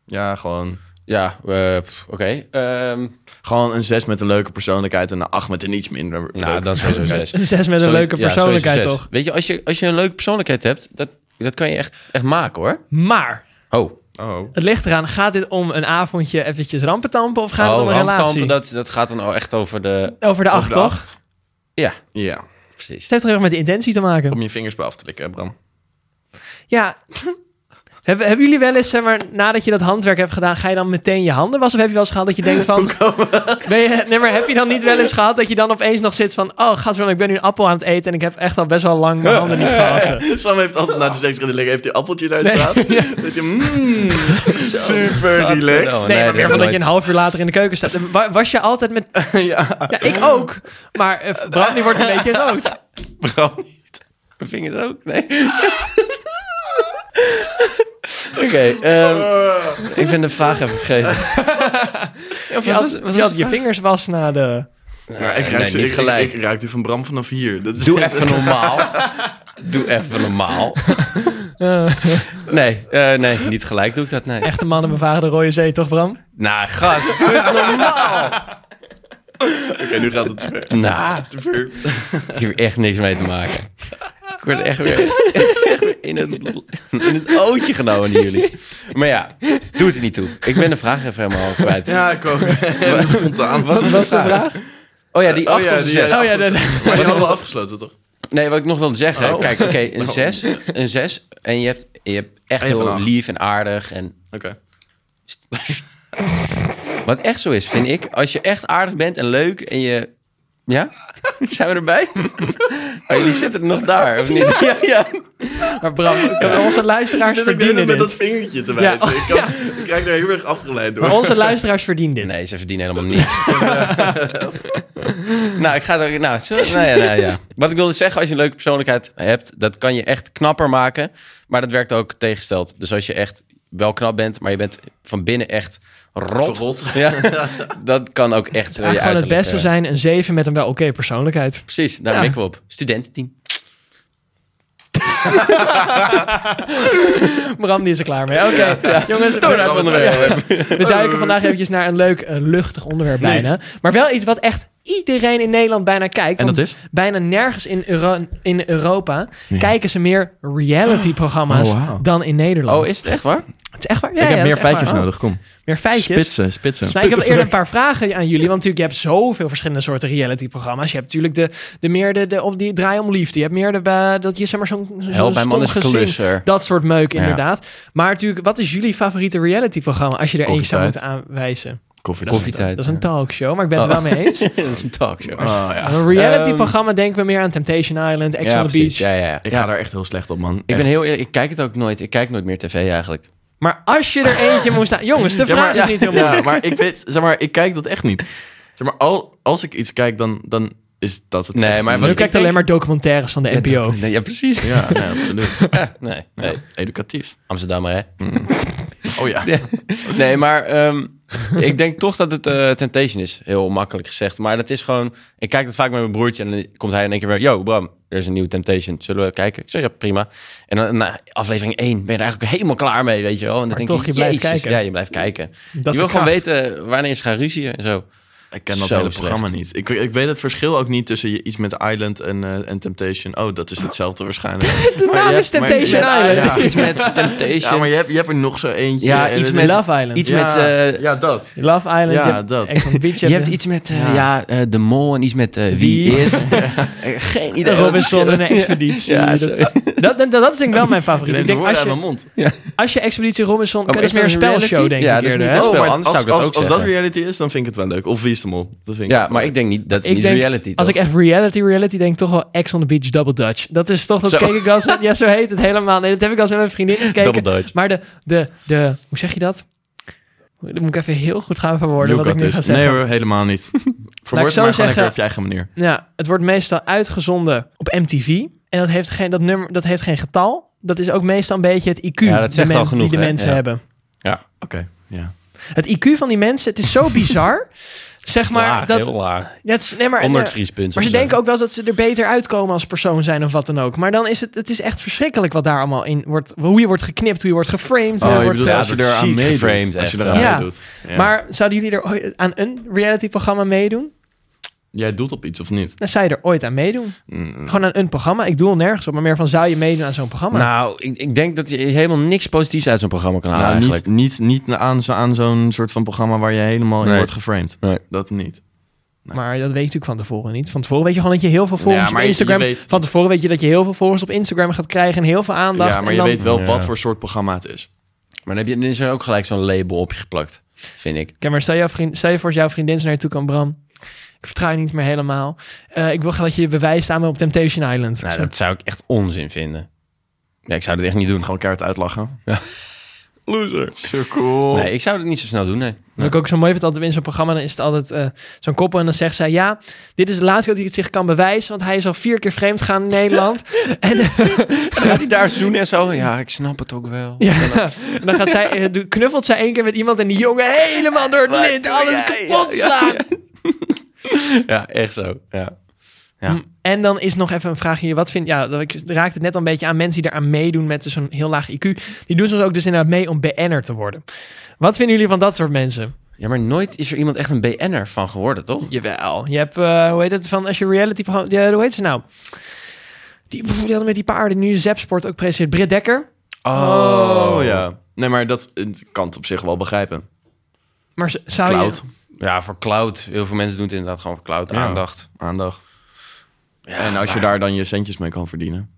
S1: Ja, gewoon...
S3: Ja, eh, pff, oké. Ehm,
S1: Gewoon een zes met een leuke persoonlijkheid en een acht met een iets minder leuke
S3: nou, dat is sowieso
S1: persoonlijkheid.
S3: zes.
S2: Een zes met een
S3: Sowieso-
S2: leuke
S3: ja,
S2: persoonlijkheid,
S3: sowieso zes.
S2: toch?
S3: Weet je, als je, als je een leuke persoonlijkheid hebt... dat, dat kan je echt, echt maken hoor.
S2: Maar...
S3: Oh,
S1: Oh.
S2: Het ligt eraan, gaat dit om een avondje eventjes rampentampen of gaat het om
S3: oh
S2: een relatie?
S3: ramptampen, dat, dat gaat dan al echt over de...
S2: Over de acht,
S1: Over de
S2: toch?
S1: acht.
S3: Ja,
S1: Ja,
S3: precies.
S2: Het heeft toch heel erg met de intentie te maken?
S1: om je vingers bij af te likken, hè, Bram.
S2: Ja. hebben, hebben jullie wel eens, zeg maar, nadat je dat handwerk hebt gedaan, ga je dan meteen je handen wassen? Of heb je wel eens gehad dat je denkt van... ben je, nee, maar heb je dan niet wel eens gehad dat je dan opeens nog zit van... Oh, gaat wel, ik ben nu een appel aan het eten en ik heb echt al best wel lang mijn handen niet gewassen.
S1: Sam heeft altijd na de seks liggen, heeft hij appeltje daar
S2: Nee.
S1: staan. Dat je, mm, super relaxed.
S3: Oh, nee,
S2: nee, maar
S3: dat
S2: meer
S3: heb
S2: van
S3: ik
S2: dat je
S3: nooit.
S2: een half uur later in de keuken staat. Wa- Was je altijd met...
S1: ja,
S2: Ja, ik ook. Maar eh, Bram, die wordt een beetje rood.
S1: Bram.
S3: Mijn vingers ook? Nee. Oké, ehm, ik ben de vraag even vergeten.
S2: Of je
S3: Wat
S2: had,
S3: was- wat
S2: je, had
S3: was-
S2: je vingers was na de...
S1: Ja, ik, ruik
S3: nee,
S1: ze-
S3: niet
S1: ik-
S3: gelijk.
S1: Ik, ik ruik die van Bram vanaf hier. Dat is
S3: Doe even normaal. Doe even normaal. Nee, eh, nee, niet gelijk doe ik dat, nee.
S2: Echte mannen bevagen de Rode Zee, toch Bram?
S3: Nou, gast, doe eens normaal.
S1: Oké, nu gaat het te ver.
S3: Nou,
S1: Te ver.
S3: ik heb hier echt niks mee te maken. Ik word echt weer echt in, het, in het ootje genomen door jullie. Maar ja, doe het er niet toe. Ik ben de vraag even helemaal kwijt.
S1: Ja, ik ook. Even Spontaan.
S3: Wat is de vraag? Oh ja, die
S1: Oh
S3: acht
S1: ja,
S3: of
S1: die,
S3: zes.
S1: eh,
S2: Oh ja, de-
S1: Maar die hadden we afgesloten, toch?
S3: Nee, wat ik nog wilde zeggen.
S1: Oh.
S3: Kijk, oké, een zes. Een zes. En je hebt, je hebt echt
S1: En je hebt
S3: heel
S1: een acht.
S3: lief en aardig. En
S1: Oké.
S3: wat echt zo is, vind ik. Als je echt aardig bent en leuk en je... Ja? Zijn we erbij? Oh, jullie zitten nog daar, of niet? Ja, ja.
S2: maar Bram, kan- onze luisteraars
S1: Zit ik de hele tijd
S2: verdienen
S1: met dat
S2: dit.
S1: vingertje te wijzen.
S2: Ja.
S1: Ik, kan, ik raak daar heel erg afgeleid door.
S2: Maar onze luisteraars verdienen dit.
S3: Nee, ze verdienen helemaal niets. nou, ik ga er... Nou, zullen we- nou ja, nou ja. Wat ik wilde zeggen, als je een leuke persoonlijkheid hebt... dat kan je echt knapper maken. Maar dat werkt ook tegengesteld. Dus als je echt wel knap bent... maar je bent van binnen echt rot...
S1: Verrot.
S3: Ja, dat kan ook echt eh, je
S2: Eigenlijk gewoon het
S3: uiterlijk,
S2: beste
S3: eh,
S2: zijn een zeven met een wel oké persoonlijkheid.
S3: Precies, daar
S2: Ja.
S3: mikken we op. Studententeam.
S2: Bram, die is er klaar mee. Oké, jongens.
S1: Door naar het
S2: we-
S1: onderwerp.
S2: We duiken vandaag eventjes naar een leuk, eh, luchtig onderwerp bijna. Maar wel iets wat echt iedereen in Nederland bijna kijkt.
S1: En dat
S2: want
S1: is?
S2: Bijna nergens in, Euro- in Europa kijken ze meer reality-programma's
S1: Oh, wauw.
S2: dan in Nederland.
S3: Oh, is het echt waar?
S2: Het is echt waar.
S1: ik
S2: Ja, ja,
S1: heb
S2: dat
S1: meer
S2: is echt
S1: feitjes
S2: waar. Oh,
S1: nodig, kom.
S2: Meer feitjes?
S1: Spitsen, spitsen.
S2: Nou, ik heb eerder een paar vragen aan jullie. Want natuurlijk, je hebt zoveel verschillende soorten reality-programma's. Je hebt natuurlijk de, de meer de, de, op die draai om liefde. Je hebt meer de, eh, dat je zeg maar zo'n zo'n
S3: Help, mijn man
S2: stom
S3: is
S2: gezin.
S3: klusser.
S2: Dat soort meuk,
S3: Ja.
S2: inderdaad. Maar natuurlijk, wat is jullie favoriete reality-programma als je er eentje zou moeten
S1: Koffietijd.
S2: aanwijzen?
S1: Koffie.
S3: Koffietijd.
S2: Dat is een talkshow, maar ik ben het
S3: Oh.
S2: er wel mee eens.
S3: dat is een talkshow.
S1: Oh, ja.
S2: Een reality-programma denken we meer aan Temptation Island, Ex
S3: Ehm, ja,
S2: on the
S3: precies.
S2: Beach.
S3: Ja, ja, ja.
S1: Ik
S3: Ja.
S1: ga daar echt heel slecht op, man.
S3: Ik ben heel eerlijk, ik kijk het ook nooit. Ik kijk nooit meer tv eigenlijk.
S2: Maar als je er eentje moest aan... Jongens,
S1: Ja,
S2: de vraag
S1: maar,
S2: is niet heel moeilijk.
S1: ja, maar ik weet, zeg maar, ik kijk dat echt niet. Zeg maar, al, als ik iets kijk, dan, dan is dat het.
S3: Nee,
S1: echt
S3: maar
S1: niet.
S2: Nu
S3: wat-
S2: kijkt
S3: denk-
S2: alleen maar documentaires van de NPO.
S3: Nee, ja, precies.
S1: Ja, nee, absoluut.
S3: Nee, nee.
S1: Nee, educatief.
S3: Amsterdam, hè?
S1: Oh ja.
S3: Nee, maar ehm, ik denk toch dat het eh, Temptation is. Heel makkelijk gezegd. Maar dat is gewoon... Ik kijk dat vaak met mijn broertje en dan komt hij in één keer weer... Yo, Bram, er is een nieuwe Temptation. Zullen we kijken? Ik zeg, ja, prima. En dan na aflevering 1 ben je er eigenlijk helemaal klaar mee, weet je wel. En dan
S2: Maar
S3: denk
S2: toch,
S3: ik,
S2: je blijft
S3: jezus,
S2: kijken.
S3: Ja, je blijft kijken.
S2: Dat
S3: je
S2: is
S3: wil
S2: de
S3: gewoon
S2: kracht.
S3: weten wanneer ze gaan ruzien en zo.
S1: Ik ken dat
S3: Zo
S1: hele
S3: slecht.
S1: programma niet. Ik, ik weet het verschil ook niet tussen je- iets met Island en, eh, en Temptation. Oh, dat is hetzelfde waarschijnlijk.
S2: De
S1: Maar
S2: naam
S1: je
S2: is
S1: hebt- maar je
S2: Temptation
S1: hebt-
S2: Island.
S1: Ja.
S3: Iets met
S1: Ja,
S3: Temptation.
S1: maar je hebt, je hebt er nog zo eentje.
S3: Ja,
S1: en
S3: iets
S1: het
S3: met-
S1: is-
S2: Love Island.
S3: iets
S1: ja,
S3: met... eh,
S1: ja, dat.
S2: Love Island.
S1: Ja,
S2: je hebt
S1: dat.
S2: Ex on the Beach.
S3: je hebt iets met, eh,
S1: Ja.
S3: ja, eh, de mol en iets met eh, wie
S2: Wie?
S3: is. Geen idee.
S2: de Robinson en een expeditie.
S3: Ja,
S2: dat,
S3: sorry.
S2: dat, dat, dat is denk ik wel mijn
S1: Je
S2: favoriet.
S1: neemt
S2: Ik
S1: de
S2: denk
S1: woorden uit
S2: als je,
S1: mijn mond.
S2: als je Expeditie Robinson...
S3: maar
S2: dat
S3: Oh, is
S2: is meer een
S3: dat een
S2: spelshow,
S3: reality?
S2: denk
S3: Ja, dat
S2: ik
S3: is
S2: eerder.
S3: niet
S2: hè?
S3: echt-
S1: Oh,
S3: spel,
S1: maar
S3: anders
S1: als,
S3: zou
S1: als,
S3: ik het ook
S1: als dat
S3: zeggen.
S1: reality is, dan vind ik het wel leuk. Of Wie is de Mol? Dat vind ik
S3: Ja,
S1: wel
S3: maar
S1: leuk.
S3: ik denk niet. Dat is
S2: Ik
S3: niet
S2: denk,
S3: reality.
S2: Als
S3: toch?
S2: ik echt reality, reality denk, toch wel Ex on the Beach Double Dutch. Dat is toch, dat
S3: Zo.
S2: keek ik wel eens met- Ja, zo heet het helemaal. Nee, dat heb ik wel eens met mijn vriendin gekeken.
S3: Double Dutch.
S2: Maar de, de, de, hoe zeg je dat? Dan moet ik even heel goed gaan verwoorden wat ik
S1: Joekat
S3: dus.
S2: nu ga
S1: is.
S2: zeggen.
S1: Nee hoor, helemaal niet.
S3: Nou,
S2: Laat
S1: Verwoord
S2: ik zo
S1: het maar gewoon
S2: zeggen-
S1: lekker op je eigen manier.
S2: Ja, het wordt meestal uitgezonden op MTV. En dat heeft geen, dat nummer, dat heeft geen getal. Dat is ook meestal een beetje het IQ
S3: Ja, dat zegt
S2: die,
S3: al
S2: men-
S3: genoeg,
S2: die de
S3: hè?
S2: mensen
S3: Ja.
S2: hebben.
S1: Oké, ja.
S2: Het IQ van die mensen, het is zo bizar. zeg maar,
S3: Laag,
S2: dat,
S3: heel laag.
S2: dat is, nee, maar,
S3: Onder het
S2: eh,
S3: vriespunt.
S2: maar ze
S3: zo.
S2: denken ook wel eens dat ze er beter uitkomen als persoon zijn of wat dan ook. Maar dan is het, het is echt verschrikkelijk wat daar allemaal in wordt, hoe je wordt geknipt, hoe je wordt geframed.
S1: Oh,
S2: hoe je
S1: je
S2: wordt
S1: bedoelt
S2: ge-
S1: als je
S3: Ja,
S1: er aan
S3: ziek
S1: meedoet.
S3: geframed,
S1: Als je
S3: echt,
S1: er aan
S2: ja.
S1: meedoet. Ja.
S2: Maar zouden jullie er ooit aan een reality-programma meedoen?
S1: Jij doet op iets of
S3: Nou,
S1: niet?
S2: Dan zou je er ooit aan meedoen.
S1: Mm.
S2: Gewoon aan een programma. Ik doe al nergens op, maar meer van zou je meedoen aan zo'n programma?
S3: Nou, ik, ik denk dat je helemaal niks positiefs uit zo'n programma kan halen
S1: nou,
S3: eigenlijk.
S1: niet, niet, niet aan, zo, aan zo'n soort van programma waar je helemaal in
S3: Nee.
S1: wordt geframed.
S3: Nee.
S1: Dat niet.
S2: Maar dat weet je natuurlijk van tevoren niet. Van tevoren weet je gewoon dat je heel veel volgers
S1: Ja, maar
S2: op
S1: je-
S2: Instagram...
S1: je weet-
S2: Van tevoren weet je dat je heel veel volgers op Instagram gaat krijgen... en heel veel aandacht.
S1: ja, maar
S2: en
S1: je
S2: dan-
S1: weet wel
S3: Ja.
S1: wat voor soort programma het is.
S3: Maar dan, heb je, dan is er ook gelijk zo'n label op je geplakt, vind ik.
S2: Kijk, maar stel, jouw vriend, stel je voor dat jouw vriendin zo naar je toe kan... Bram, ik vertrouw je niet meer helemaal. Eh, ik wil graag dat je bewijst aan me op Temptation Island.
S3: Nou,
S2: Zo.
S3: dat zou ik echt onzin vinden. Nee, ik zou dat echt niet doen.
S1: Gewoon keihard uitlachen.
S3: Ja.
S1: Loser. Zo cool.
S3: Nee, ik zou dat niet zo snel doen, nee.
S2: Wat ik ook zo mooi vind altijd in zo'n programma... dan is het altijd eh, zo'n koppel en dan zegt zij... ja, dit is de laatste keer dat hij het zich kan bewijzen... want hij is al vier keer vreemd gaan in Nederland. en,
S3: Gaat hij daar zoenen en zo? Ja, ik snap het ook wel.
S2: Ja. En dan gaat zij, eh, doe- knuffelt zij één keer met iemand en die jongen helemaal door
S1: Wat
S2: het lint,
S1: doe
S2: alles
S1: jij?
S2: kapot slaan.
S3: Ja, echt zo. Ja. ja.
S2: Mm, En dan is nog even een vraag hier. Wat vind ja, dat ik raakte het net al een beetje aan mensen die eraan meedoen met dus zo'n heel laag IQ. Die doen soms ook dus inderdaad mee om BN'er te worden. Wat vinden jullie van dat soort mensen?
S3: ja, maar nooit is er iemand echt een BN'er van geworden, toch?
S2: Jawel. Je hebt, eh, hoe heet het, van als je reality programma, ja, hoe heet ze nou? Die, die hadden met die paarden nu Zepsport ook presenteert. Britt Dekker.
S1: Oh ja. Nee, maar dat eh, kan het op zich wel begrijpen.
S2: Maar z- zou
S1: Cloud,
S2: je...
S3: Ja, voor cloud. Heel veel mensen doen het inderdaad gewoon voor cloud.
S1: Ja.
S3: Aandacht.
S1: aandacht. en als je daar dan je centjes mee kan verdienen.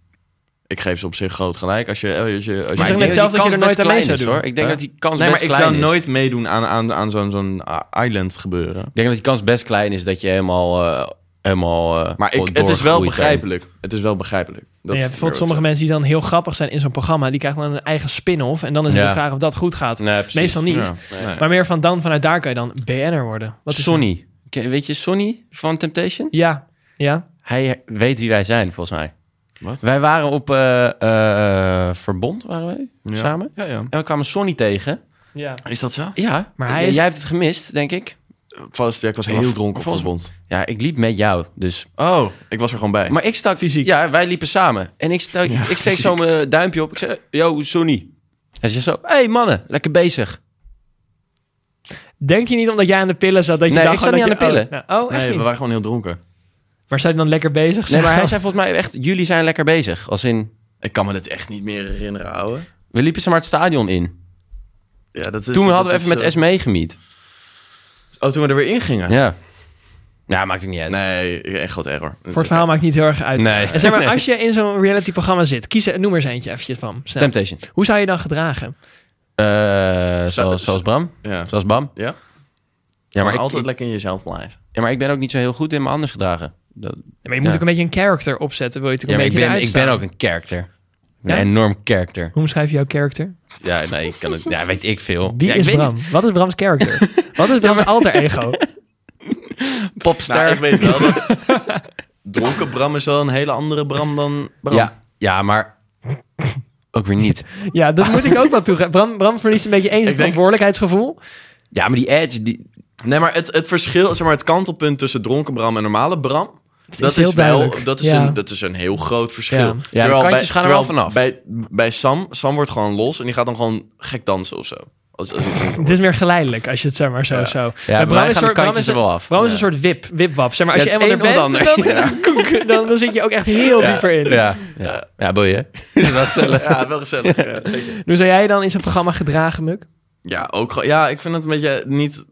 S1: Ik geef ze op zich groot gelijk. Als je, eh, als je, als
S2: Maar
S1: je
S2: ik denk- zelf dat je er nooit aan mee zou doen.
S3: hoor. Ik
S1: Huh?
S3: denk dat die kans
S1: nee,
S3: best
S1: maar ik
S3: klein
S1: zou
S3: is.
S1: nooit meedoen aan, aan, aan zo'n zo'n ah, island gebeuren.
S3: Ik denk dat die kans best klein is dat je helemaal... eh, helemaal eh,
S1: Maar ik, het is
S3: doorgegroeid
S1: wel
S3: bent.
S1: begrijpelijk. Het is wel begrijpelijk. Dat
S2: Ja, je hebt bijvoorbeeld sommige mensen die dan heel grappig zijn in zo'n programma. Die krijgen dan een eigen spin-off. En dan is het
S3: Ja.
S2: de vraag of dat goed gaat.
S3: Nee, precies.
S2: Meestal niet.
S1: Ja, nee.
S2: Maar meer van dan vanuit daar kan je dan BN'er worden. Wat is
S3: Sonny. Ken- Weet je Sonny van Temptation?
S2: Ja, ja.
S3: Hij weet wie wij zijn, volgens mij.
S1: Wat?
S3: Wij waren op eh, eh, Verbond, waren wij
S1: Ja.
S3: samen.
S1: Ja, ja.
S3: En we kwamen Sonny tegen.
S2: ja.
S1: Is dat zo?
S3: Ja,
S2: Maar hij
S3: j-
S2: is-
S3: jij hebt het gemist, denk ik.
S1: Vast, ja, ik was heel
S3: Volgens-
S1: dronken op
S3: volgens-
S1: bond.
S3: Ja, ik liep met jou, dus.
S1: Oh, ik was er gewoon bij.
S3: Maar ik stak...
S2: Fysiek.
S3: Ja, wij liepen samen. En ik, stel, ik steek zo mijn duimpje op. Ik zei, yo, Sonny. Hij zei zo, hey mannen, lekker bezig.
S2: Denk je niet omdat jij aan de pillen zat dat je
S3: Nee,
S2: dacht
S3: ik zat
S2: gewoon
S3: niet
S2: dat
S3: aan
S2: je-
S3: de
S2: Oh, nou, oh, echt
S1: nee, we
S2: niet?
S1: waren gewoon heel dronken.
S2: Maar zou je dan lekker bezig
S3: Nee,
S2: zijn?
S3: maar hij zei volgens mij echt, jullie zijn lekker bezig. Als in,
S1: Ik kan me dit echt niet meer herinneren, ouwe.
S3: we liepen ze maar het stadion in.
S1: Ja, dat is,
S3: Toen
S1: Dus dat
S3: hadden we
S1: is eh,
S3: even met
S1: zo-
S3: Esmee gemiet.
S1: Oh, toen we er weer in gingen?
S3: Ja. Ja, maakt ook niet uit.
S1: Nee, een groot error.
S2: Voor het verhaal maakt niet heel erg uit.
S3: Nee.
S2: En zeg maar,
S3: Nee.
S2: als je in zo'n reality-programma zit, kies, een- noem er eens eentje eventjes van. snel.
S3: Temptation.
S2: Hoe zou je dan gedragen?
S3: Eh, zoals,
S1: zo-
S3: zoals Bram.
S1: Ja.
S3: Zoals Bam.
S1: Ja,
S3: Ja
S1: maar
S3: maar, ik,
S1: altijd
S3: ik-
S1: lekker in jezelf blijven.
S3: ja, maar ik ben ook niet zo heel goed in mijn anders gedragen. Dat,
S2: Ja, Maar je moet
S3: Ja.
S2: ook een beetje een character opzetten, wil je het ook
S3: ja,
S2: een
S3: maar ik,
S2: beetje
S3: ben,
S2: eruit
S3: ik ben
S2: staan.
S3: ook een character.
S2: Ja?
S3: Een enorm character.
S2: Hoe omschrijf je jouw character?
S3: Ja, nee, ik kan het. Ja, weet ik veel.
S2: Wie
S3: ja, ik
S2: is
S3: weet
S2: Bram?
S3: niet.
S2: Wat is Brams character? Wat is Brams alter ego?
S3: Popster.
S1: Nou, ik weet wel dat... Dronken Bram is wel een hele andere Bram dan Bram.
S3: ja, ja, maar ook weer niet.
S2: Ja, dat moet ik ook wel toegeven. Bram, Bram verliest een beetje eens zijn
S1: Ik denk-
S2: verantwoordelijkheidsgevoel.
S3: Ja, maar die edge, die,
S1: Nee, maar het, het verschil, zeg maar, het kantelpunt tussen dronken Bram en normale Bram... Dat is,
S2: heel duidelijk.
S1: wel, dat is,
S2: Ja.
S1: een, dat is een heel groot verschil.
S2: Ja. Ja, de
S3: kantjes gaan er wel vanaf.
S1: Bij, bij Sam, Sam wordt gewoon los en die gaat dan gewoon gek dansen of zo. Als, als
S2: Het is meer geleidelijk als je het zeg maar zo. zo. Maar
S3: bij mij
S2: is
S3: gaan de
S2: soort-
S3: kantjes
S2: is een-
S3: er wel af.
S2: Bram is
S1: Ja.
S2: een soort wip, wipwap. Zeg maar, als
S3: Ja,
S2: je
S3: het is
S2: helemaal
S3: één
S2: er bent,
S3: of
S2: dan, dan, dan zit je ook echt heel dieper in.
S3: ja, ja, ja, boeien. Dat was gezellig.
S1: ja, wel gezellig. Ja, zeker.
S2: Hoe zou jij dan in zo'n programma gedragen, Muk?
S1: Ja, ook, gewoon- ja, ik vind het een beetje niet... Het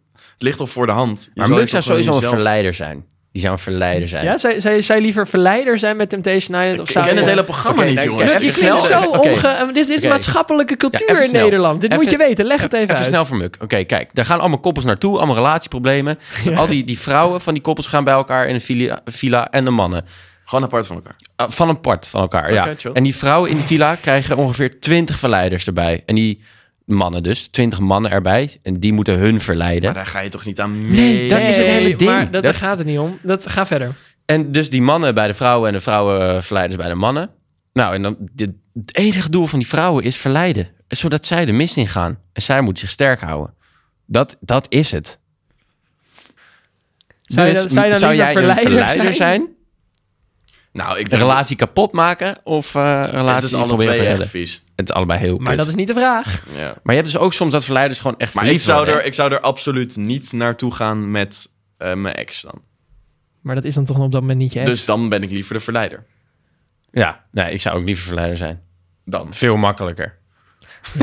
S1: ligt toch voor de hand. Je
S3: Maar
S1: zou
S3: Muk
S1: toch gewoon
S3: zou sowieso een
S1: jezelf-
S3: verleider zijn. Die zou een verleider zijn.
S2: Ja, zou, zou, je- zou je liever verleider zijn met Temptation Island? Of
S1: Ik
S2: zou
S1: ken
S2: je-
S1: het hele programma
S3: Oké,
S1: niet,
S3: dan-
S1: jongens.
S2: Muk,
S3: Even
S2: je klinkt
S3: snel.
S2: zo
S3: Oké.
S2: onge... eh, Dit is, dit is
S3: Oké.
S2: maatschappelijke cultuur
S3: even
S2: in
S3: snel.
S2: Nederland. Dit
S3: Even-
S2: moet je weten. Leg het even,
S3: Even
S2: uit.
S3: snel voor Muk. Oké, kijk. Daar gaan allemaal koppels naartoe. Allemaal relatieproblemen. Al die, die vrouwen van die koppels gaan bij elkaar in een villa, villa en de mannen.
S1: Gewoon apart van elkaar.
S3: Ah, van een part van elkaar, ja.
S1: Oké, chill.
S3: En die vrouwen in die villa krijgen ongeveer 20 verleiders erbij. En die mannen dus, 20 mannen erbij. En die moeten hun verleiden.
S1: Maar daar ga je toch niet aan mee?
S3: Nee, dat is het
S2: Nee,
S3: hele ding.
S2: Maar dat, daar
S3: Dat-
S2: gaat het niet om. Dat, ga verder.
S3: En dus die mannen bij de vrouwen en de vrouwen eh, verleiders bij de mannen. Nou, en dan dit, het enige doel van die vrouwen is verleiden. Zodat zij de mist ingaan. En zij moet zich sterk houden. Dat, dat is het.
S2: Zou je
S3: Dus
S2: dan- zou je dan liever
S3: jij
S2: verleider
S3: een verleider
S2: zijn?
S3: zijn?
S1: Nou, ik
S3: Een
S1: denk...
S3: relatie kapot maken? Of eh, een
S1: Het
S3: relatie
S1: is alle
S3: proberen
S1: twee
S3: te
S1: echt
S3: redden?
S1: vies.
S3: Het is allebei heel
S2: Maar
S3: kut.
S2: dat is niet de vraag.
S1: Ja.
S3: Maar je hebt dus ook soms dat verleiders gewoon echt
S1: Maar ik
S3: verliefd
S1: zou,
S3: worden,
S1: er, ik zou er absoluut niet naartoe gaan met eh, mijn ex dan.
S2: Maar dat is dan toch op dat moment niet je ex.
S1: Dus dan ben ik liever de verleider.
S3: hè? Ja, nee, ik zou ook liever verleider zijn.
S1: Dan.
S3: Veel makkelijker.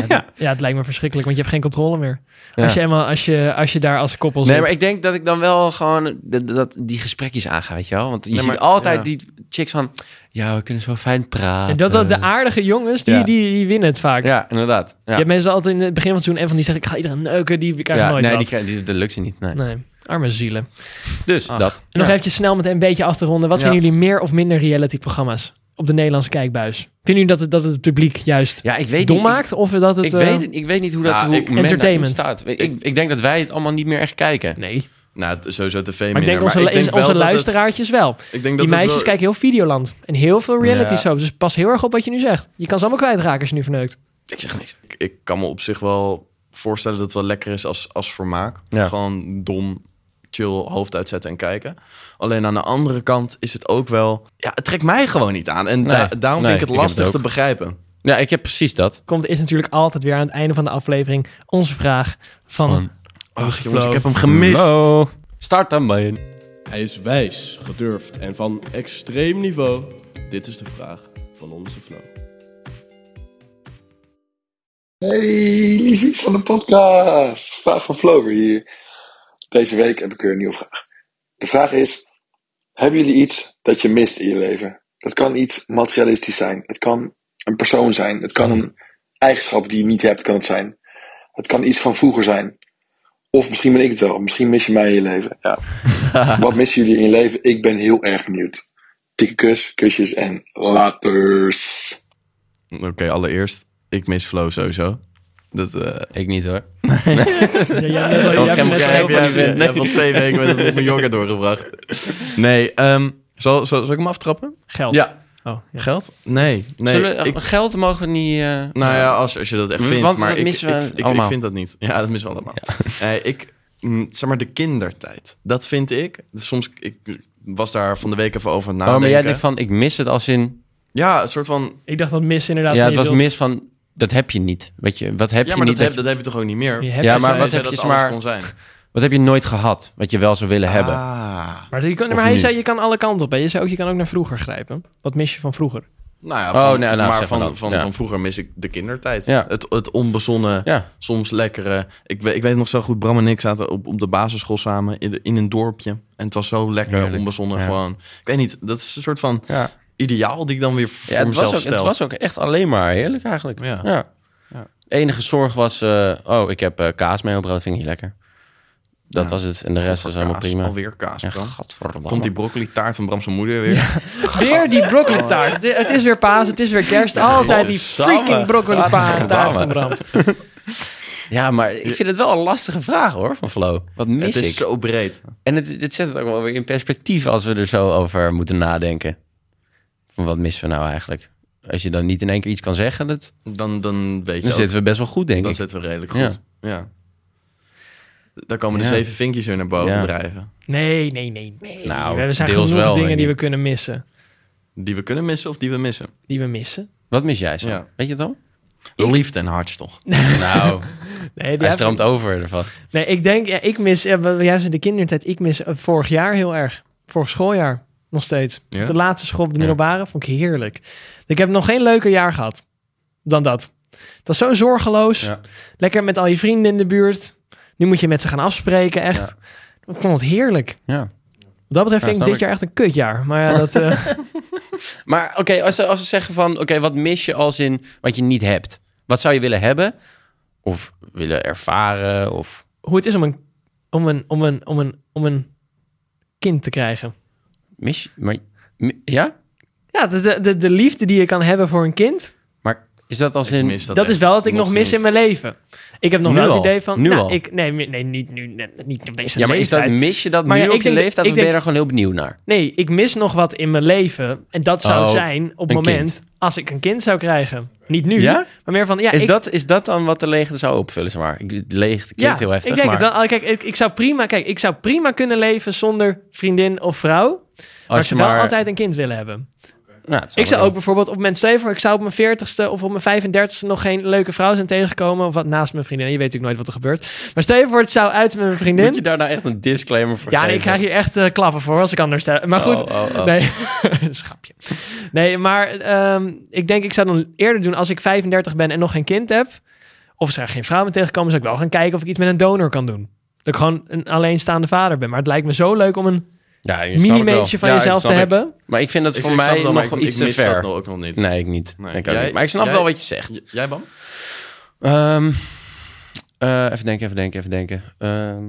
S2: Ja, het lijkt me verschrikkelijk, want je hebt geen controle meer.
S3: Ja.
S2: Als, je helemaal, als, je, als je daar als koppel zit.
S3: Nee, maar ik denk dat ik dan wel gewoon dat, dat- die gesprekjes aanga, weet je wel? Want je
S1: Nee, maar-
S3: ziet altijd
S1: ja.
S3: die chicks van... Ja, we kunnen zo fijn
S2: En
S3: praten.
S2: dat wel de aardige jongens, die,
S3: eh, Ja.
S2: die, die winnen het vaak.
S3: Ja, inderdaad.
S2: Je
S3: Ja,
S2: hebt mensen altijd in het begin van het seizoen... en van die zeggen, ik ga iedereen neuken, die krijgen
S3: Ja,
S2: nooit
S3: nee,
S2: wat.
S3: die, krijgen- die, dat lukt ze niet. Nee.
S2: Nee, arme zielen. En
S3: Dus
S1: Ach.
S3: dat.
S2: nog
S3: Ja.
S2: eventjes snel met een beetje af te ronden. Wat
S1: Ja.
S2: vinden jullie meer of minder reality-programma's op de Nederlandse kijkbuis? Vinden jullie dat het, dat het publiek juist
S3: Ja, ik weet
S2: dom
S3: niet. ik-
S2: maakt? Of dat het...
S3: Ik,
S2: eh,
S3: weet, het- ik weet niet hoe dat
S1: Nou,
S3: hoe
S1: ik-
S3: men daarin
S2: Entertainment.
S3: staat. Ik, ik, ik denk dat wij het allemaal niet meer echt kijken.
S2: Nee,
S1: Nou, t- sowieso tv
S2: maar ik
S1: minder.
S2: denk onze,
S1: maar ik denk
S2: is- onze
S1: wel dat het-
S2: luisteraartjes wel.
S1: ik denk
S2: Die
S1: dat het
S2: meisjes
S1: wel-
S2: kijken heel Videoland en heel veel reality
S3: Ja.
S2: shows. Dus pas heel erg op wat je nu zegt. Je kan ze allemaal kwijtraken als je nu verneukt.
S3: Ik zeg niks.
S1: Ik, ik kan me op zich wel voorstellen dat het wel lekker is als, als vermaak.
S3: Ja.
S1: Gewoon dom, chill, hoofd uitzetten en kijken. Alleen aan de andere kant is het ook wel... Ja, het trekt mij gewoon niet aan. En da-
S3: Nee,
S1: daarom
S3: nee,
S1: vind ik
S3: ik
S1: het
S3: heb
S1: lastig
S3: het ook.
S1: te begrijpen.
S3: Ja, ik heb precies dat.
S2: Komt is natuurlijk altijd weer aan het einde van de aflevering onze vraag van...
S3: Van- Oh,
S1: Ach jongens, ik heb hem gemist.
S3: Hallo. Start dan bij
S5: Hij is wijs, gedurfd en van extreem niveau. Dit is de vraag van onze flow.
S6: Hey, liefie van de podcast. Vraag van Flover hier. Deze week heb ik weer een nieuwe vraag. De vraag is: Hebben jullie iets dat je mist in je leven? Dat kan iets materialistisch zijn. Het kan een persoon zijn. Het kan een eigenschap die je niet hebt, kan het zijn. Het kan iets van vroeger zijn. Of misschien ben ik het wel. Misschien mis je mij in je leven. Ja. Wat missen jullie in je leven? Ik ben heel erg benieuwd. Dikke kus, kusjes en laters.
S1: Oké, allereerst, ik mis Flo sowieso. Dat... eh,
S3: Ik niet hoor.
S2: Ja, jij hebt net al- jij hebt
S1: Jij
S2: net al
S1: jij
S2: heel
S1: hebt
S2: veel-
S1: jij hebt- jij hebt al twee weken met een Mallorca doorgebracht. Nee, ehm, zal, zal, zal ik hem aftrappen?
S2: Geld.
S3: Ja.
S2: Oh, ja.
S1: Geld? Nee. nee
S3: Zullen,
S1: ik,
S3: Geld mogen we niet... eh,
S1: nou ja, als, als je dat echt
S3: Mm. Want
S1: vindt. maar
S3: dat
S1: ik,
S3: missen we
S1: ik, ik, ik
S3: allemaal.
S1: vind dat niet. Ja, dat missen we allemaal. Eh, ik, mm, zeg maar, de kindertijd. Dat vind ik. dus Soms, ik was daar van de week even over aan het
S3: Oh,
S1: nadenken.
S3: maar jij denkt van, ik mis het als in...
S1: Ja, een soort van...
S2: Ik dacht dat mis inderdaad...
S3: ja,
S2: van
S3: het
S2: je
S3: was
S2: wilt-
S3: mis van, dat heb je niet. Weet je, wat heb
S1: Ja,
S3: je
S1: maar
S3: niet?
S1: dat heb,
S3: dat
S1: dat heb je toch ook niet meer?
S2: Je hebt
S3: Ja,
S2: het,
S3: maar
S1: Zij
S2: eh,
S3: wat
S1: zei
S3: heb je,
S1: dat
S3: zeg
S1: alles
S3: maar-
S1: kon zijn.
S3: je- wat heb je nooit gehad, wat je wel zou willen hebben?
S1: Ah.
S2: Maar, je kan, maar
S3: Of
S2: hij
S3: nu.
S2: zei, je kan alle kanten op. Hè? Je zei ook, je kan ook naar vroeger grijpen. Wat mis je van vroeger?
S1: Nou ja,
S3: Oh,
S1: van-
S3: nou, nou,
S1: maar
S3: zeg maar
S1: van,
S3: dan.
S1: van,
S3: Ja.
S1: van vroeger mis ik de kindertijd.
S3: Ja.
S1: Het, het onbezonnen,
S3: Ja.
S1: soms lekkere. Ik, we- ik weet nog zo goed, Bram en ik zaten op, op de basisschool samen in, de- in een dorpje. En het was zo lekker
S3: Heerlijk.
S1: onbezonnen
S3: Ja.
S1: gewoon. Ik weet niet, dat is een soort van
S3: Ja.
S1: ideaal die ik dan weer voor
S3: Ja, het,
S1: mezelf
S3: was ook,
S1: stel.
S3: het was ook echt alleen maar heerlijk eigenlijk.
S1: Ja.
S3: Ja. Enige zorg was, eh, oh, ik heb eh, kaas mee op brood, vind ik niet lekker. Dat was het. En de rest was allemaal
S1: Kaas,
S3: prima.
S1: Alweer kaas,
S3: Ja,
S1: Bram.
S3: gadverdamme.
S1: Komt die broccoli taart van Bram's moeder weer?
S2: Weer die broccoli taart. Het- Het is weer paas, het is weer kerst. Altijd die
S3: godsamme.
S2: freaking broccoli pa- taart van
S3: Godverdamme.
S2: Bram.
S3: Ja, maar ik vind het wel een lastige vraag hoor, van Flo. Wat mis
S1: het is
S3: ik?
S1: zo breed.
S3: En het, het zet het ook wel weer in perspectief als we er zo over moeten nadenken. Van wat missen we nou eigenlijk? Als je dan niet in één keer iets kan zeggen, dat,
S1: Dan, dan weet je
S3: dan
S1: ook,
S3: zitten we best wel goed, denk
S1: dan
S3: ik.
S1: zitten we redelijk goed. Ja. Dan komen de
S3: Ja.
S1: zeven vinkjes weer naar boven
S3: Ja.
S1: drijven.
S2: Nee, nee, nee, nee.
S3: Nou,
S2: er zijn
S3: deels
S2: genoeg
S3: wel,
S2: dingen
S3: denk
S2: die
S3: ik.
S2: we kunnen missen.
S1: Die we kunnen missen of die we missen.
S2: Die we missen.
S3: Wat mis jij zo?
S1: Ja.
S3: Weet je het al?
S1: Liefde en hartstocht.
S3: Nou,
S2: Nee, die-
S3: hij stroomt over ervan.
S2: nee ik denk, ja, ik mis, ja, wel, juist in de kindertijd, ik mis eh, vorig jaar heel erg. Vorig schooljaar nog steeds.
S1: Ja?
S2: De laatste school op de middelbare vond ik heerlijk. Ik heb nog geen leuker jaar gehad dan dat. Het was zo zorgeloos.
S3: Ja.
S2: Lekker met al je vrienden in de buurt. Nu moet je met ze gaan afspreken, echt. Ik vond het heerlijk.
S3: Ja.
S2: Wat dat betreft
S3: Ja,
S2: vind ik
S3: snap
S2: dit
S3: ik.
S2: jaar echt een kutjaar. Maar ja, dat... eh,
S3: Maar oké, als, ze- als ze zeggen van... Oké, wat mis je als in wat je niet hebt? Wat zou je willen hebben? Of willen ervaren? Of...
S2: hoe het is om een, om een, om een, om een, om een kind te krijgen.
S3: Mis je- maar, mi- ja?
S2: Ja, de- de, de, de liefde die je kan hebben voor een kind,
S3: Maar is dat als
S1: Ik
S3: in...
S1: mis
S2: dat,
S1: echt
S2: is wel wat ik nog, mis
S1: niet.
S2: in mijn leven. Ik heb nog
S3: Nu
S2: wel het
S3: al?
S2: idee van...
S3: Nu
S2: nou,
S3: al?
S2: Ik, nee, mi- nee, niet nu, nee, niet op deze
S3: ja, maar is
S2: leeftijd.
S3: dat, mis je dat
S2: Maar
S3: nu
S2: ja,
S3: op
S2: ik
S3: je
S2: denk-
S3: leeftijd?
S2: ik
S3: Of ben je
S2: denk-
S3: er gewoon heel benieuwd naar?
S2: Nee, ik mis nog wat in mijn leven. En dat zou
S3: Oh,
S2: zijn op het
S3: een
S2: moment
S3: kind.
S2: als ik een kind zou krijgen. Niet nu,
S3: Ja?
S2: maar meer van... Ja,
S3: Is,
S2: ik,
S3: dat, is dat dan wat de leegte zou opvullen? Zeg maar? Ik- de Leegte klinkt heel heftig,
S2: ik denk
S3: maar
S2: het wel. Oh, Kijk ik, ik zou prima, kijk, ik zou prima kunnen leven zonder vriendin of vrouw. Maar
S3: als
S2: ze
S3: je
S2: wel
S3: maar...
S2: altijd een kind willen hebben.
S3: Nou, het
S2: Ik zou
S3: wel-
S2: ook bijvoorbeeld op mijn stel voor, ik zou op mijn 40ste of op mijn 35ste nog geen leuke vrouw zijn tegengekomen. Of wat naast mijn vriendin. Je weet natuurlijk nooit wat er gebeurt. Maar stel je voor, het zou uit met mijn
S3: Moet je
S2: vriendin.
S3: daar nou echt een disclaimer voor
S2: Ja, nee,
S3: geven?
S2: ik krijg hier echt eh, klappen voor als ik anders stel. Maar goed,
S3: Oh, oh, oh.
S2: nee, schapje. Nee, maar ehm, ik denk, ik zou dan eerder doen als ik 35 ben en nog geen kind heb. Of als er geen vrouw me tegenkomen, zou ik wel gaan kijken of ik iets met een donor kan doen. Dat ik gewoon een alleenstaande vader ben. Maar het lijkt me zo leuk om een
S3: Ja, je snapt het
S2: mini-meentje
S3: wel.
S2: van
S3: Ja, ik
S2: jezelf te
S3: snap ik.
S2: hebben.
S3: Maar ik vind dat
S1: Ik-
S3: voor
S1: ik snap
S3: mij
S1: het wel, maar ik-
S3: nog iets
S1: ik
S3: te
S1: mis
S3: ver.
S1: dat nog ook nog niet.
S3: Nee, ik niet.
S1: Nee.
S3: Ik ook
S1: Jij-
S3: niet. Maar ik snap
S1: jij-
S3: wel wat je zegt.
S1: J- Jij, Bam?
S3: Ehm, eh, even denken, even denken, even denken. Ehm,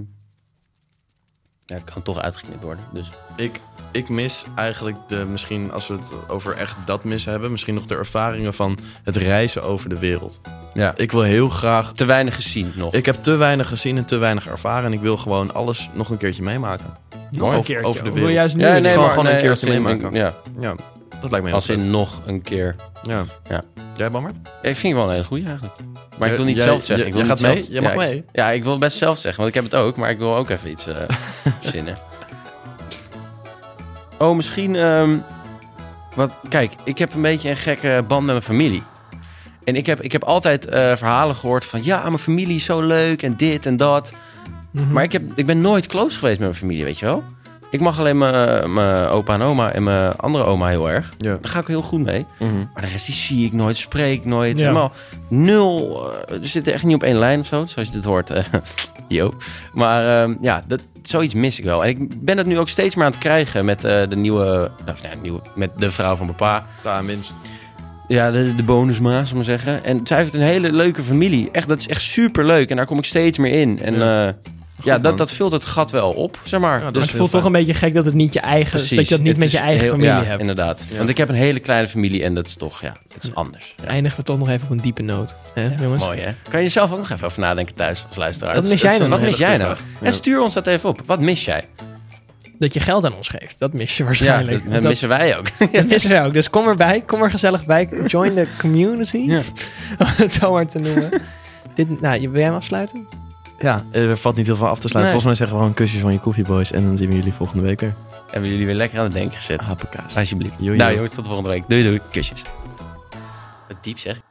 S3: ja, het kan toch uitgeknipt worden. Dus.
S1: Ik, ik mis eigenlijk de, misschien als we het over echt dat mis hebben, misschien nog de ervaringen van het reizen over de wereld.
S3: Ja.
S1: Ik wil heel graag.
S3: Te weinig gezien nog.
S1: Ik heb te weinig gezien en te weinig ervaren. En ik wil gewoon alles nog een keertje meemaken.
S2: Nog
S1: Over-
S2: een keertje.
S1: over de
S2: Ik wil
S1: wereld.
S2: juist nu
S3: Ja,
S2: weer-
S1: gewoon-
S3: maar-
S1: gewoon een keertje
S3: als in-
S1: meemaken.
S3: Ja,
S1: Ja, dat lijkt me heel
S3: als
S1: vet.
S3: in nog een keer.
S1: Ja.
S3: Ja.
S1: Jij, Bammert?
S3: Ja, ik vind het wel een hele goeie eigenlijk. Maar ik wil niet
S1: Jij-
S3: zelf zeggen.
S1: jij-
S3: Ik wil
S1: jij
S3: niet
S1: gaat
S3: zelf-
S1: mee? Jij mag
S3: ja, ik-
S1: mee?
S3: Ja, ik wil het best zelf zeggen, want ik heb het ook. Maar ik wil ook even iets eh verzinnen. Oh, misschien... ehm, wat, kijk, ik heb een beetje een gekke band met mijn familie. En ik heb, ik heb altijd eh, verhalen gehoord van... Ja, mijn familie is zo leuk en dit en dat.
S1: Mhm.
S3: Maar ik, heb, ik ben nooit close geweest met mijn familie, weet je wel? Ik mag alleen mijn mijn opa en oma en mijn andere oma heel erg.
S1: Ja.
S3: Daar ga ik heel goed mee.
S1: Mhm.
S3: Maar de rest die zie ik nooit, spreek nooit.
S2: Ja.
S3: Helemaal nul. eh, we zitten echt niet op één lijn of zo, zoals je dit hoort. eh, Yo. Maar ehm, ja, dat, zoiets mis ik wel. En ik ben dat nu ook steeds meer aan het krijgen met eh, de nieuwe, nou, nou, nieuwe... Met de vrouw van mijn pa.
S1: Ja, minst.
S3: Ja, de, de bonusma, zal ik maar zeggen. En zij heeft een hele leuke familie. Echt, dat is echt superleuk. En daar kom ik steeds meer in. En
S1: Ja.
S3: ja, ja
S1: man.
S3: dat, dat vult het gat wel op, zeg maar.
S1: Ja,
S3: dus
S2: Maar het voelt toch een beetje gek dat het niet je eigen is. Dat je dat niet
S3: Het
S2: met
S3: is
S2: je eigen
S3: heel-
S2: familie
S3: ja,
S2: hebt.
S3: inderdaad. Want ik heb een hele kleine familie en dat is toch, ja, dat is anders. Ja.
S2: Eindigen we toch nog even op een diepe noot. Hè, jongens?
S3: Mooi, hè? Kan je zelf ook nog even over nadenken thuis als luisteraar?
S2: Wat
S3: Dat
S2: mis
S3: dat is-
S2: jij dan?
S3: Wat
S1: Een
S3: mis
S1: hele
S3: jij
S1: goede
S3: nou? En stuur ons dat even op. Wat mis jij?
S2: Dat je geld aan ons geeft. Dat mis je
S3: Ja,
S2: waarschijnlijk.
S3: dat, eh,
S2: Want dat,
S3: missen wij ook.
S2: dat missen wij ook. Dus kom erbij. Kom er gezellig bij. Join the community. Om het zo maar te noemen. Dit, nou, je- wil jij hem afsluiten?
S1: Ja, er valt niet heel veel af te sluiten.
S3: Nee.
S1: Volgens mij zeggen we gewoon kusjes van je koffieboys. En dan zien we jullie volgende week weer.
S3: Hebben jullie weer lekker aan het denken gezet? Nou,
S1: Hapkaas.
S3: Alsjeblieft.
S1: Jojo.
S3: Nou jongens, tot volgende week. Doei doei. Kusjes. Wat diep zeg.